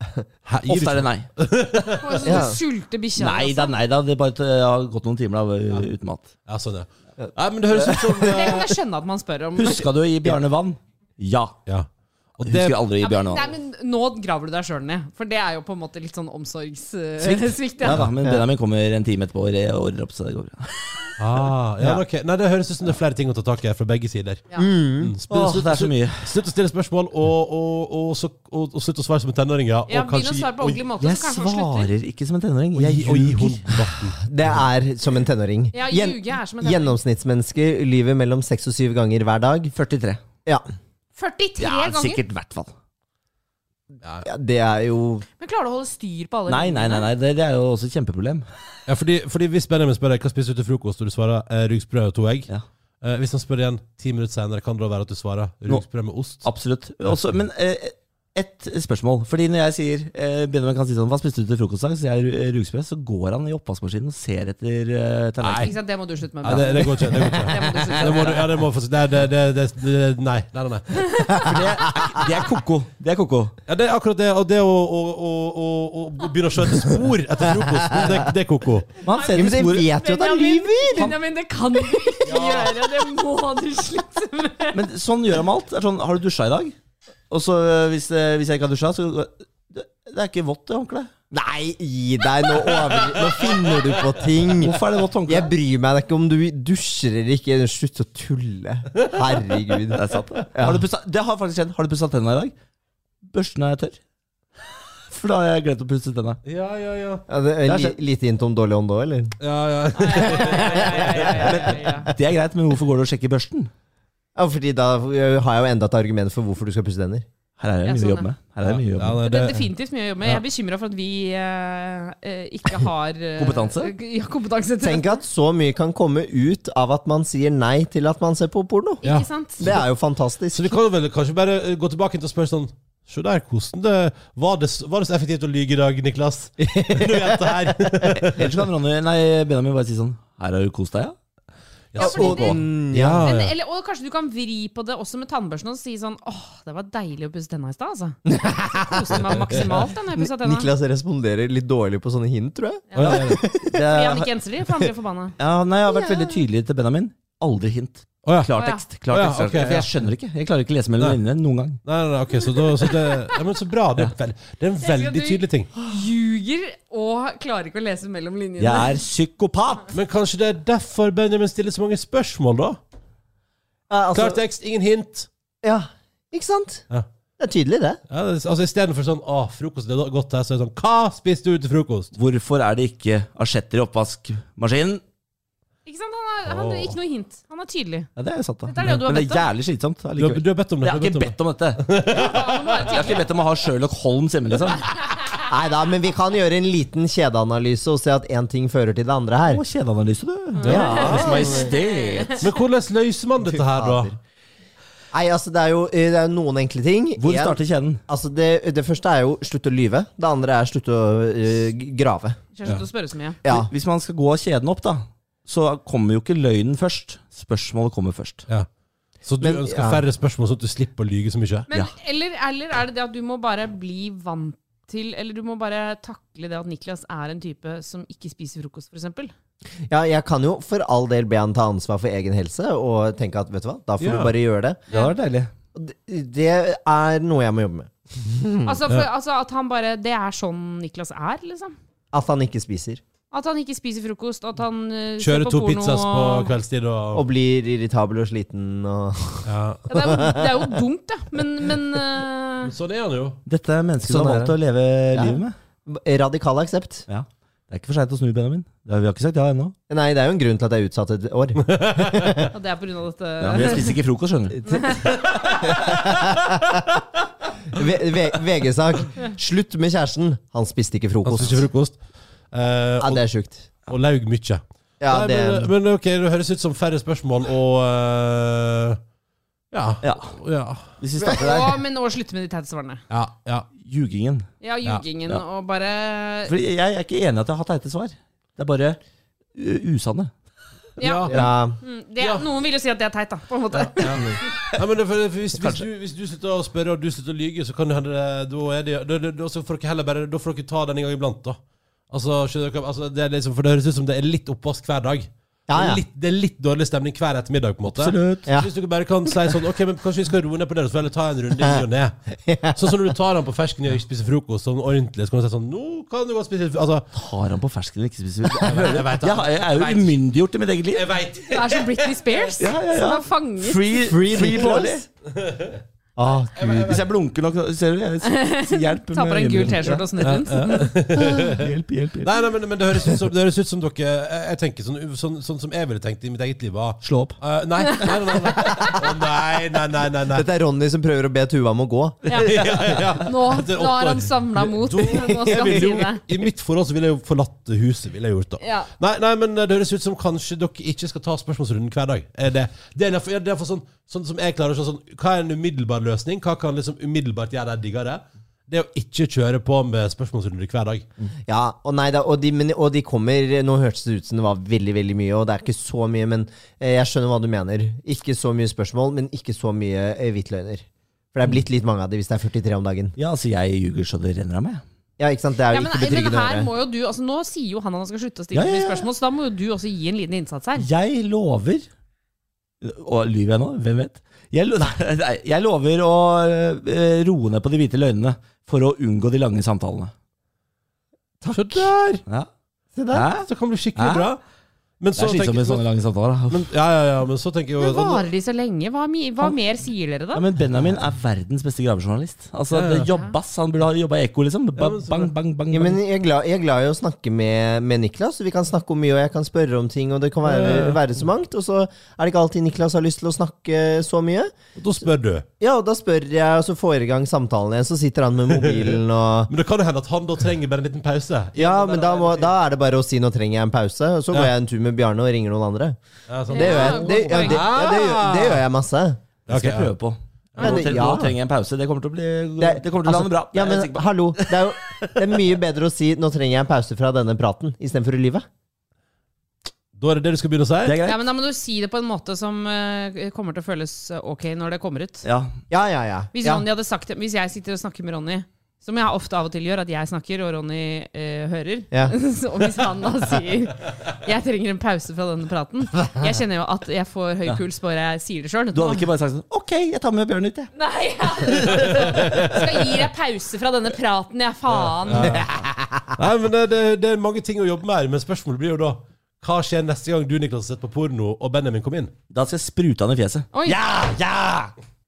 S1: Ofte er det nei.
S4: Og så
S2: Ja.
S4: sulte bikkja.
S1: Nei
S4: altså.
S1: da, nei da. Det er bare at jeg har gått noen timer da, uten mat.
S3: Ja, sånn, ja. Nei, men det høres ut
S1: *laughs*
S3: som
S4: Det kan jeg skjønne at man spør om.
S1: Huska du å gi Bjarne vann? Ja.
S3: Ja. Og det,
S1: Husker aldri å
S4: Ja,
S1: gi Bjarne
S4: men, nei,
S1: vann.
S4: men nå graver du deg sjøl ned, for det er jo på en måte litt sånn omsorgssvikt.
S1: Svikt.
S4: *laughs* Svikt,
S1: Ja
S4: ja.
S1: da, men Benjamin kommer en time etterpå og re- ordner opp, så det går bra.
S3: ah, ja, men ok. Nei, det høres ut som det er flere ting å ta tak i her fra begge sider.
S4: Ja.
S3: Mm. Sp-
S1: Åh,
S3: slutt,
S1: det er så mye.
S3: slutt å stille spørsmål, og, og, og, så- og, og slutt å svare som en tenåring. Ja,
S4: Ja,
S3: og
S4: begynn å svare på
S3: og-
S4: ordentlig måte,
S1: Jeg
S4: så kanskje han slutter.
S1: svarer ikke som en tenåring.
S3: og
S1: Jeg
S3: gi- og gi
S1: ljuger.
S3: hund vann.
S2: Det er som en tenåring.
S4: Ja,
S2: Gjen-
S4: ljuge er som en tenåring.
S2: Gjennomsnittsmenneske lyver mellom seks og syv ganger hver dag.
S1: 43.
S2: Ja,
S4: 43
S1: Ja,
S4: ganger!
S1: sikkert i hvert fall.
S2: ja det er jo
S4: Men klarer du å holde styr på alle?
S1: Nei, nei, nei, nei. Det, det er jo også et kjempeproblem.
S3: Ja, fordi, fordi Hvis Benjamin spør deg hva spiser du til frokost, og du svarer eh, rugsprø og to egg
S1: Ja.
S3: eh, Hvis han spør igjen ti minutter senere, kan det da være at du svarer rugsprø med ost?
S1: Absolutt. Også, men eh, ett spørsmål. Fordi når jeg sier eh, Benjamin kan si sånn Hva spiste du til frokost i dag? Så sier jeg ru- rugsprø. Så går han i oppvaskmaskinen og ser etter eh, tallerkenen.
S4: Ikke sant, det må du slutte med.
S3: Nei, det, det går ikke. Det går
S1: *laughs*
S3: ikke.
S4: Det må du slutte
S3: *laughs* Det må
S4: med.
S3: du, ja, det må faktisk- det, det, det, det, det, nei, nei, nei, nei.
S1: For det, er- det er ko-ko. Det er ko-ko.
S3: Ja, det er akkurat det. Og det å, å, å, å, å, å begynne å skjønne spor etter frokosten, det, det er koko.
S1: Men han
S2: Ja,
S1: ser
S2: Men
S1: etter
S2: jeg
S1: sporet.
S2: vet jo at han lyver!
S4: Benjamin, det kan du ikke gjøre! Det må du
S1: *laughs*
S4: slutte med!
S1: Men sånn gjør han med alt. Det er sånn, har du dusja i dag? Og så eh, hvis, eh, hvis jeg ikke har dusja, så det, det er ikke vått det håndkleet.
S2: Nei, gi deg! Nå, over, nå finner du på ting.
S1: Hvorfor er det vått håndkle?
S2: Jeg bryr meg ikke om du dusjer eller ikke. Slutt å tulle. Herregud. Det er sant. Ja.
S1: Har du pussa, det har faktisk skjedd. Har du pussa tennene i dag? Børsten er tørr. For da har jeg glemt å pusse tennene.
S3: Ja, ja, ja.
S2: Ja, det er
S1: har
S2: li,
S1: skjedd.
S2: lite hint om dårlig ånd òg, eller?
S3: ja, ja.
S1: Det er greit, men hvorfor går du og sjekker børsten?
S2: Ja, fordi da har jeg jo enda et argument for hvorfor du skal pusse tenner.
S1: Her er det
S4: Ja,
S1: mye
S4: sånn,
S1: å jobbe med. Her er det mye å jobbe med.
S3: nei,
S4: Det er definitivt mye å jobbe med. Jeg er bekymra for at vi eh, eh, ikke har eh,
S1: Kompetanse?
S4: Ja, kompetanse til
S2: Tenk at så mye kan komme ut av at man sier nei til at man ser på porno.
S3: Ja.
S4: Ikke sant?
S2: Det er jo
S3: Så
S2: fantastisk.
S3: vi kan jo vel kanskje bare eh, gå tilbake til å spørre sånn Se der, hvordan det var, det var det så effektivt å lyge i dag, Niklas? *laughs* Du vet det her.
S1: Ellers kan Ronny, nei, Benjamin bare si sånn Her har du kost deg, ja?
S4: Ja, fordi det,
S3: Ja,
S2: Ah,
S4: men,
S3: ja.
S4: eller, og kanskje du kan vri på det også med tannbørsten og si sånn åh, det var deilig å pusse tenna i stad, altså.
S2: *laughs*
S4: Koste meg maksimalt da når jeg pussa tenna. Fordi
S2: Niklas responderer litt dårlig på sånne hint, tror jeg.
S3: Å, ja, ja, ja.
S2: eh,
S4: han ikke enser de, for han blir forbanna.
S1: Ja, nei, jeg har vært veldig tydelig til Benjamin. Aldri hint.
S3: Å, ja.
S1: Klar
S4: Å, ja.
S1: tekst. Klar
S3: Å, ja,
S1: tekst klar
S3: ok,
S1: tekst. For
S3: ja.
S1: jeg skjønner ikke. Jeg klarer ikke å lese mellom
S3: Nei.
S1: linjene noen gang.
S3: Nei, nei, nei, ok, så, da, så det ja, men Så bra. Det er, vel- det er en
S4: elsker at
S3: veldig
S4: du-
S3: tydelig ting.
S4: Ljuger og klarer ikke å lese mellom linjene.
S1: Jeg er psykopat!
S3: Men kanskje det er derfor Benjamin stiller så mange spørsmål, da?
S2: Ja, altså,
S3: Klar tekst, ingen hint.
S2: Ja, ikke sant?
S3: Ja.
S2: Det er tydelig, det.
S3: Ja, det, altså Istedenfor sånn 'Å, frokost, det er godt her', så er det sånn 'Hva spiste du til frokost?'
S1: Hvorfor er det ikke asjetter i oppvaskmaskinen?
S4: Ikke sant? Han er, han,
S3: Åh.
S4: ikke noe hint. Han er tydelig.
S1: Ja, det er sant, da.
S4: Dette er det du har
S1: Men det
S4: bedt
S1: er
S4: om.
S1: jævlig slitsomt.
S3: Du har,
S1: allikevel.
S3: du har bedt om det.
S1: Jeg har
S3: du
S1: ikke
S3: har
S1: bedt om dette.
S4: Han må være
S1: Jeg har
S4: tydelig.
S1: ikke bedt om å ha Sherlock Holmes hjemme, liksom.
S2: Nei da, men vi kan gjøre en liten kjedeanalyse og se at én ting fører til det andre
S1: Å,
S2: her.
S1: Kjedeanalyse, du.
S3: Ja.
S1: Hans Majestet.
S3: Men hvordan løser man dette her, da?
S2: Nei, altså, det er jo, det er jo noen enkle ting.
S1: Hvor
S2: En-
S1: starter kjeden?
S2: Altså det, det første er jo slutt å lyve. Det andre er slutt å eh, g- grave.
S4: Kjæresten til å spørre så mye.
S2: Ja.
S1: Hvis man skal gå kjeden opp, da, så kommer jo ikke løgnen først. Spørsmålet kommer først.
S3: Ja. Så du
S2: Men-
S3: ønsker
S2: ja.
S3: færre spørsmål, sånn at du slipper å lyge så mye?
S4: Men, eller, eller er det det at du må bare bli vant til Eller du må bare takle det at Niklas er en type som ikke spiser frokost, f.eks.?
S2: ja, jeg kan jo for all del be han ta ansvar for egen helse og tenke at vet du hva, da får du
S3: Ja.
S2: bare gjøre det.
S1: Det hadde vært deilig.
S2: Og det- Det er noe jeg må jobbe med. Mm,
S4: Altså, for, altså at han bare Det er sånn Niklas er, liksom?
S2: At han ikke spiser.
S4: At han ikke spiser frokost, at han eh, ser
S3: Kjøre
S4: på
S3: to
S4: porno
S3: pizzas på
S4: og-
S3: kveldstid og
S2: Og blir irritabel og sliten og
S3: ja.
S4: Ja, det, er jo, det er jo dumt, da. Men, men eh,
S3: Sånn er han jo.
S1: Dette er mennesket
S2: Sånn
S1: som har
S2: er
S1: valgt
S2: det.
S1: å leve livet med.
S2: Radikal aksept.
S1: Ja. Det er ikke for seint å snu, Benjamin. Det har, vi har ikke sagt ja ennå.
S2: Nei, det er jo en grunn til at jeg er utsatt et år.
S4: ja, det er på grunn av dette.
S1: Ja, men jeg spiser ikke frokost, skjønner du.
S2: V- V- VG-sak. Slutt med kjæresten. Han spiste ikke
S3: Han
S2: frokost.
S3: spiser ikke frokost. Eh,
S2: Ja,
S3: og,
S2: det er sjukt.
S3: og laug mye.
S2: Ja,
S3: Nei,
S2: det,
S3: men, men ok, det høres ut som færre spørsmål og eh, ja.
S1: Ja.
S3: Ja.
S1: Hvis vi starter der.
S4: Å, men å slutte med de teite svarene.
S3: ja. ja.
S1: Ljugingen.
S4: Ja, ljugingen og bare
S1: For jeg, jeg er ikke enig i at jeg har hatt teite svar. Det er bare uh, usanne.
S4: Ja.
S3: Ja.
S2: ja.
S4: mm, det, er- Noen vil jo si at det er teit, da. På en måte.
S3: Nei, men det, er for, for hvis, hvis, du, hvis du slutter å spørre og du slutter å lyge, så kan det hende eh, Da er det da, da, da, så får dere heller bare Da får dere ta den en gang iblant, da. Altså, skjønner dere, hva- altså, det er liksom, for det høres ut som det er litt oppvask hver dag.
S2: Ja, ja.
S3: Det, er litt, det er litt dårlig stemning hver ettermiddag, på en måte.
S1: Absolutt.
S3: Så Hvis dere bare kan si sånn Ok, men kanskje vi skal roe ned på det, så får vi heller ta en runde i
S2: *laughs*
S3: ny og ne. Sånn som når du tar den på fersken og ikke spiser frokost sånn ordentlig, så kan du si sånn Nå kan du godt spise Altså,
S1: Har han på fersken eller ikke spiser Jeg,
S3: jeg vet det.
S1: jeg, jeg er jo umyndiggjort i mitt eget liv.
S3: jeg veit
S4: Det er som Britney Spears, som er fanget.
S1: Free, free, Brawley.
S2: Ah,
S1: Hvis jeg blunker nok, ser du jeg, s- Hjelp.
S4: Ta på
S1: med
S4: deg en gul
S1: øyenbryn.
S4: T-skjorte og snu rundt.
S1: Ja, Hjelp, hjelp, hjelp.
S3: Nei, nei, men, men det, høres ut som, det høres ut som dere jeg, jeg tenker sånn, sånn, sånn som jeg ville tenkt i mitt eget liv. Var,
S1: Slå opp.
S3: Eh, nei, nei, nei, nei, nei. Å, nei, nei, nei, nei, nei. *laughs*
S2: Dette er Ronny som prøver å be Tuva om å gå.
S3: Ja, ja.
S4: Nå,
S3: Etter åtte
S4: nå har han
S3: år.
S4: samla mot. *laughs* Nå skal han
S3: Jeg
S4: si
S3: ville
S4: det.
S3: jo- I mitt forhold så ville jeg jo forlatt huset, ville jeg gjort da.
S4: Ja.
S3: Nei, nei, men eh, det høres ut som kanskje dere ikke skal ta spørsmålsrunden hver dag. Er det, det er derfor, ja, det er derfor sånn, sånn som jeg klarer å se sånn, hva er en umiddelbar løsning? Hva kan liksom umiddelbart gjøre deg diggere? Det er å ikke kjøre på med spørsmålsrunder hver dag.
S2: Ja, og nei da, og de, men, og de kommer Nå hørtes det ut som det var veldig veldig mye, og det er ikke så mye, men eh, jeg skjønner hva du mener. Ikke så mye spørsmål, men ikke så mye eh, hvitløgner. For det er blitt litt mange av de hvis det er 43 om dagen.
S1: Ja, altså, jeg ljuger så det renner av meg.
S2: Ja, ikke sant? Det er jo
S4: Ja, men,
S2: ikke
S4: men
S2: betryggende å
S4: her
S2: høre.
S4: må jo du, altså Nå sier jo han at han skal slutte å
S1: Ja,
S4: stille
S1: ja,
S4: de
S1: ja.
S4: spørsmål, så da må jo du også gi en liten innsats her.
S1: Jeg lover Og lyver jeg nå? Hvem vet? Jeg, lo *laughs* nei, nei, jeg lover å eh, roe ned på de hvite løgnene for å unngå de lange samtalene.
S3: Så der!
S1: Ja.
S2: Se der.
S1: Hæ?
S3: Så kan det bli skikkelig
S1: Hæ?
S3: bra. Men
S1: Det
S3: så
S1: er slitsomt
S3: tenker-
S1: med sånne lange samtaler. da.
S3: men, ja, ja, ja, men så tenker jeg
S4: Men
S3: jo sånn,
S4: varer de så lenge? Hva, mi- hva mer sier dere,
S1: Ja,
S4: da?
S1: men Benjamin er verdens beste gravejournalist. Altså,
S3: Ja, ja.
S1: det Jobbass. Han burde ha jobba i Ekko, liksom. Ba
S3: Ja, men så-
S1: bang, bang, bang.
S2: Ja, men
S1: bang.
S2: jeg er, glad, jeg er glad i å snakke med, med Niklas. Vi kan snakke om mye, og jeg kan spørre om ting, og det kan være, være så mangt. Og så er det ikke alltid Niklas har lyst til å snakke så mye.
S3: Da spør du.
S2: Ja, og da spør jeg, og så får jeg i gang samtalen igjen. Så sitter han med
S1: *laughs*
S2: mobilen og
S3: Men det kan jo hende at han da trenger bare en liten pause.
S2: Ja, men da, må, da er det bare å si 'nå trenger jeg en pause', og så går jeg en tur med Bjarne og ringer noen andre.
S3: Ja, sånn.
S2: Det gjør jeg, det, ja, det, ja, det, gjør, det gjør jeg masse.
S1: Det skal jeg
S3: Ok, ja.
S1: prøve på.
S2: Ja,
S1: Nå
S2: det-
S1: tre-
S2: ja.
S1: nå trenger jeg en pause. Det kommer til å bli
S2: Det-
S1: Det kommer til å
S2: altså,
S1: lande bra. Det er
S2: Ja,
S1: jeg
S2: men
S1: sikker på.
S2: hallo, det er jo det er mye bedre å si 'nå trenger jeg en pause fra denne praten', istedenfor å lyve.
S3: Da er det det du skal begynne å si?
S5: Det er
S4: Ja,
S5: greit.
S4: men Da må du si det på en måte som eh, kommer til å føles ok når det kommer ut.
S5: Ja.
S2: Ja, ja, ja.
S4: Hvis,
S2: ja.
S4: Ronny hadde sagt det, hvis jeg sitter og snakker med Ronny, som jeg ofte av og til gjør, at jeg snakker og Ronny eh, hører
S2: Ja.
S4: *laughs* Så hvis han da sier Jeg trenger en pause fra denne praten Jeg kjenner jo at jeg får høy puls bare jeg sier det sjøl.
S1: Du hadde ikke bare sagt sånn OK, jeg tar med Bjørn ut, jeg.
S4: Nei, ja. Skal gi deg pause fra denne praten, ja, faen.
S3: Nei, men det, det, det er mange ting å jobbe med her, men spørsmålet blir jo da hva skjer neste gang du Niklas, har sett på porno og Benjamin kom inn?
S1: Da skal jeg sprute han i fjeset.
S4: Oi,
S2: Ah,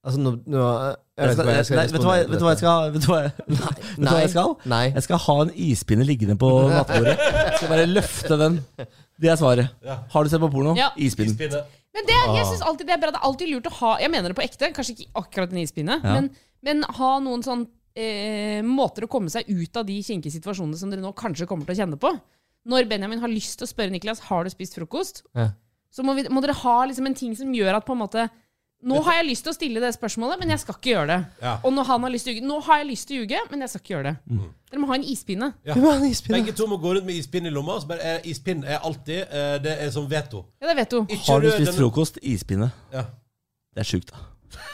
S2: Altså, nå, nå jeg
S1: Jeg
S2: vet,
S1: skal,
S2: ikke hva jeg skal
S1: nei, vet, du hva,
S2: respondere
S1: jeg- vet
S2: på
S1: du hva jeg
S2: dette.
S1: skal Vet du hva jeg, *laughs* vet du hva jeg skal?
S2: Nei.
S1: Jeg skal ha en ispinne liggende
S2: *laughs*
S1: på nattbordet. Jeg skal bare løfte den. Det er svaret. Har du sett på porno?
S4: Ja.
S1: Ispinnen.
S4: Men det, jeg synes alltid det er bra. Det er alltid lurt å ha Jeg mener det på ekte, kanskje ikke akkurat en ispinne, men, men ha noen sånn eh, måter å komme seg ut av de kinkige situasjonene som dere nå kanskje kommer til å kjenne på. Når Benjamin har lyst til å spørre Niklas har du spist frokost,
S2: Ja.
S4: så må, vi, må dere ha liksom en ting som gjør at på en måte nå har jeg lyst til å stille det spørsmålet, men jeg skal ikke gjøre det.
S3: Ja.
S4: Og når han har lyst til å ljuge, nå har jeg lyst til å ljuge, men jeg skal ikke gjøre det. Dere må ha en ispinne.
S3: Ja. Begge to må gå rundt med ispinn i lomma. Så bare, eh, ispinn er alltid eh, Det er som veto.
S4: Ja, det vet du.
S3: Ikke
S1: Har du
S3: rør
S1: spist
S3: denne-
S1: frokost? Ispinne.
S3: Ja.
S1: Det er sjukt, da.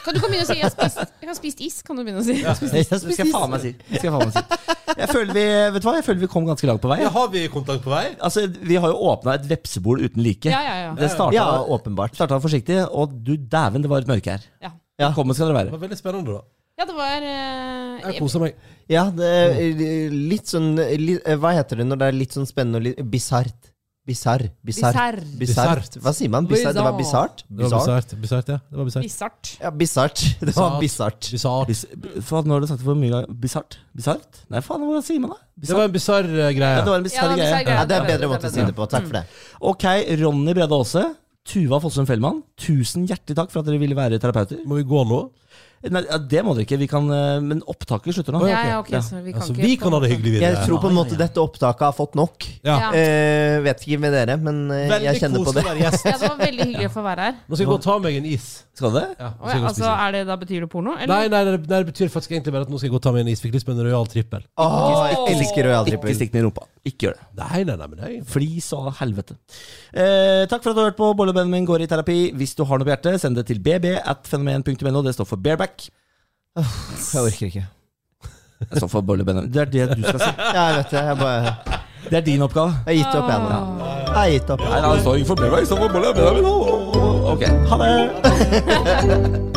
S4: Kan du kan begynne å si 'jeg har spist, jeg har spist is'? Kan du begynne å si?
S1: Det
S2: *laughs*
S1: skal jeg faen meg si. Det Skal jeg, faen meg si. jeg føler vi Vet du hva, jeg føler vi kom ganske langt på vei.
S3: Ja, har vi kontakt på vei?
S1: Altså, Vi har jo åpna et vepsebol uten like.
S4: Ja, ja, ja.
S1: Det starta,
S2: Ja, åpenbart.
S1: starta forsiktig, og du dæven, det var et mørke her.
S4: Ja.
S1: Velkommen skal dere
S3: Det
S1: være.
S3: var veldig spennende, da.
S4: Ja, det var eh,
S3: Jeg koser meg.
S2: Ja, det er litt sånn li- Hva heter det når det er litt sånn spennende og litt bisart? Bisarr. Bisarr.
S4: Bisarr.
S2: Bisart. Hva sier man? Bisarr? Det var bisart? Bisart.
S3: Bisart, ja. Det var bisart.
S4: Bisart.
S2: Ja, bisart. *laughs* Det var bisart.
S3: Bisart.
S1: Bis, faen, nå har du sagt det for mye ganger. Bisart? Bisart? Nei, faen, hvordan sier man det?
S3: Det var en bisarr
S1: Ja,
S3: eh,
S1: det
S3: greie.
S1: var en bisarr greie.
S4: Ja, det var en bisarr greie.
S2: Ja, det er en bedre måte å si det på. Takk for det.
S1: Ok, Ronny Brede Aase. Tuva Fossum Fellmann, tusen hjertelig takk for at dere ville være terapeuter.
S3: Må vi gå nå?
S1: Nei, ja, det må dere ikke, vi kan, eh, men opptaket slutter nå.
S4: Ja, ja, ok, så vi kan
S3: Altså,
S4: ikke
S3: vi kan ha det hyggelig
S2: Jeg
S3: videre.
S2: tror på en måte dette opptaket har fått nok.
S3: Ja.
S4: Ja.
S2: Eh, vet ikke med dere, men eh,
S3: Veldig
S2: jeg kjenner på
S3: koselig
S2: det.
S3: å være gjest.
S4: Ja, det var veldig hyggelig å få være her.
S3: Nå skal jeg gå og ta meg en is.
S1: Skal det?
S3: Ja, nå skal
S4: Oi,
S3: jeg gå og
S4: altså,
S3: spise.
S4: er det da Betyr det porno?
S3: Nei,
S4: Eller?
S3: nei, det, det betyr faktisk egentlig bare at nå skal jeg gå og ta meg en is. Fikk lyst på en royal trippel.
S2: Åh, jeg elsker Royal
S1: Ikke
S2: Trippel.
S1: stikk den i rumpa. Ikke gjør det.
S3: Nei, nei, nei, men det er
S1: Flis og helvete. Eh, takk for at du har hørt på Bolle og Benjamin går i terapi. Hvis du har noe på hjertet, send det til bb at fenomen.no. Det står for bareback.
S2: Jeg orker ikke.
S1: Det står for Bolle og Benjamin. Det er det du skal si.
S2: Ja, jeg vet det. Jeg bare
S1: Det er din oppgave.
S2: Jeg har gitt opp, jeg nå. Jeg har gitt opp.
S1: Nei, nei, det står ikke for bareback, det står for Bolle og Benjamin. Ok, ha det.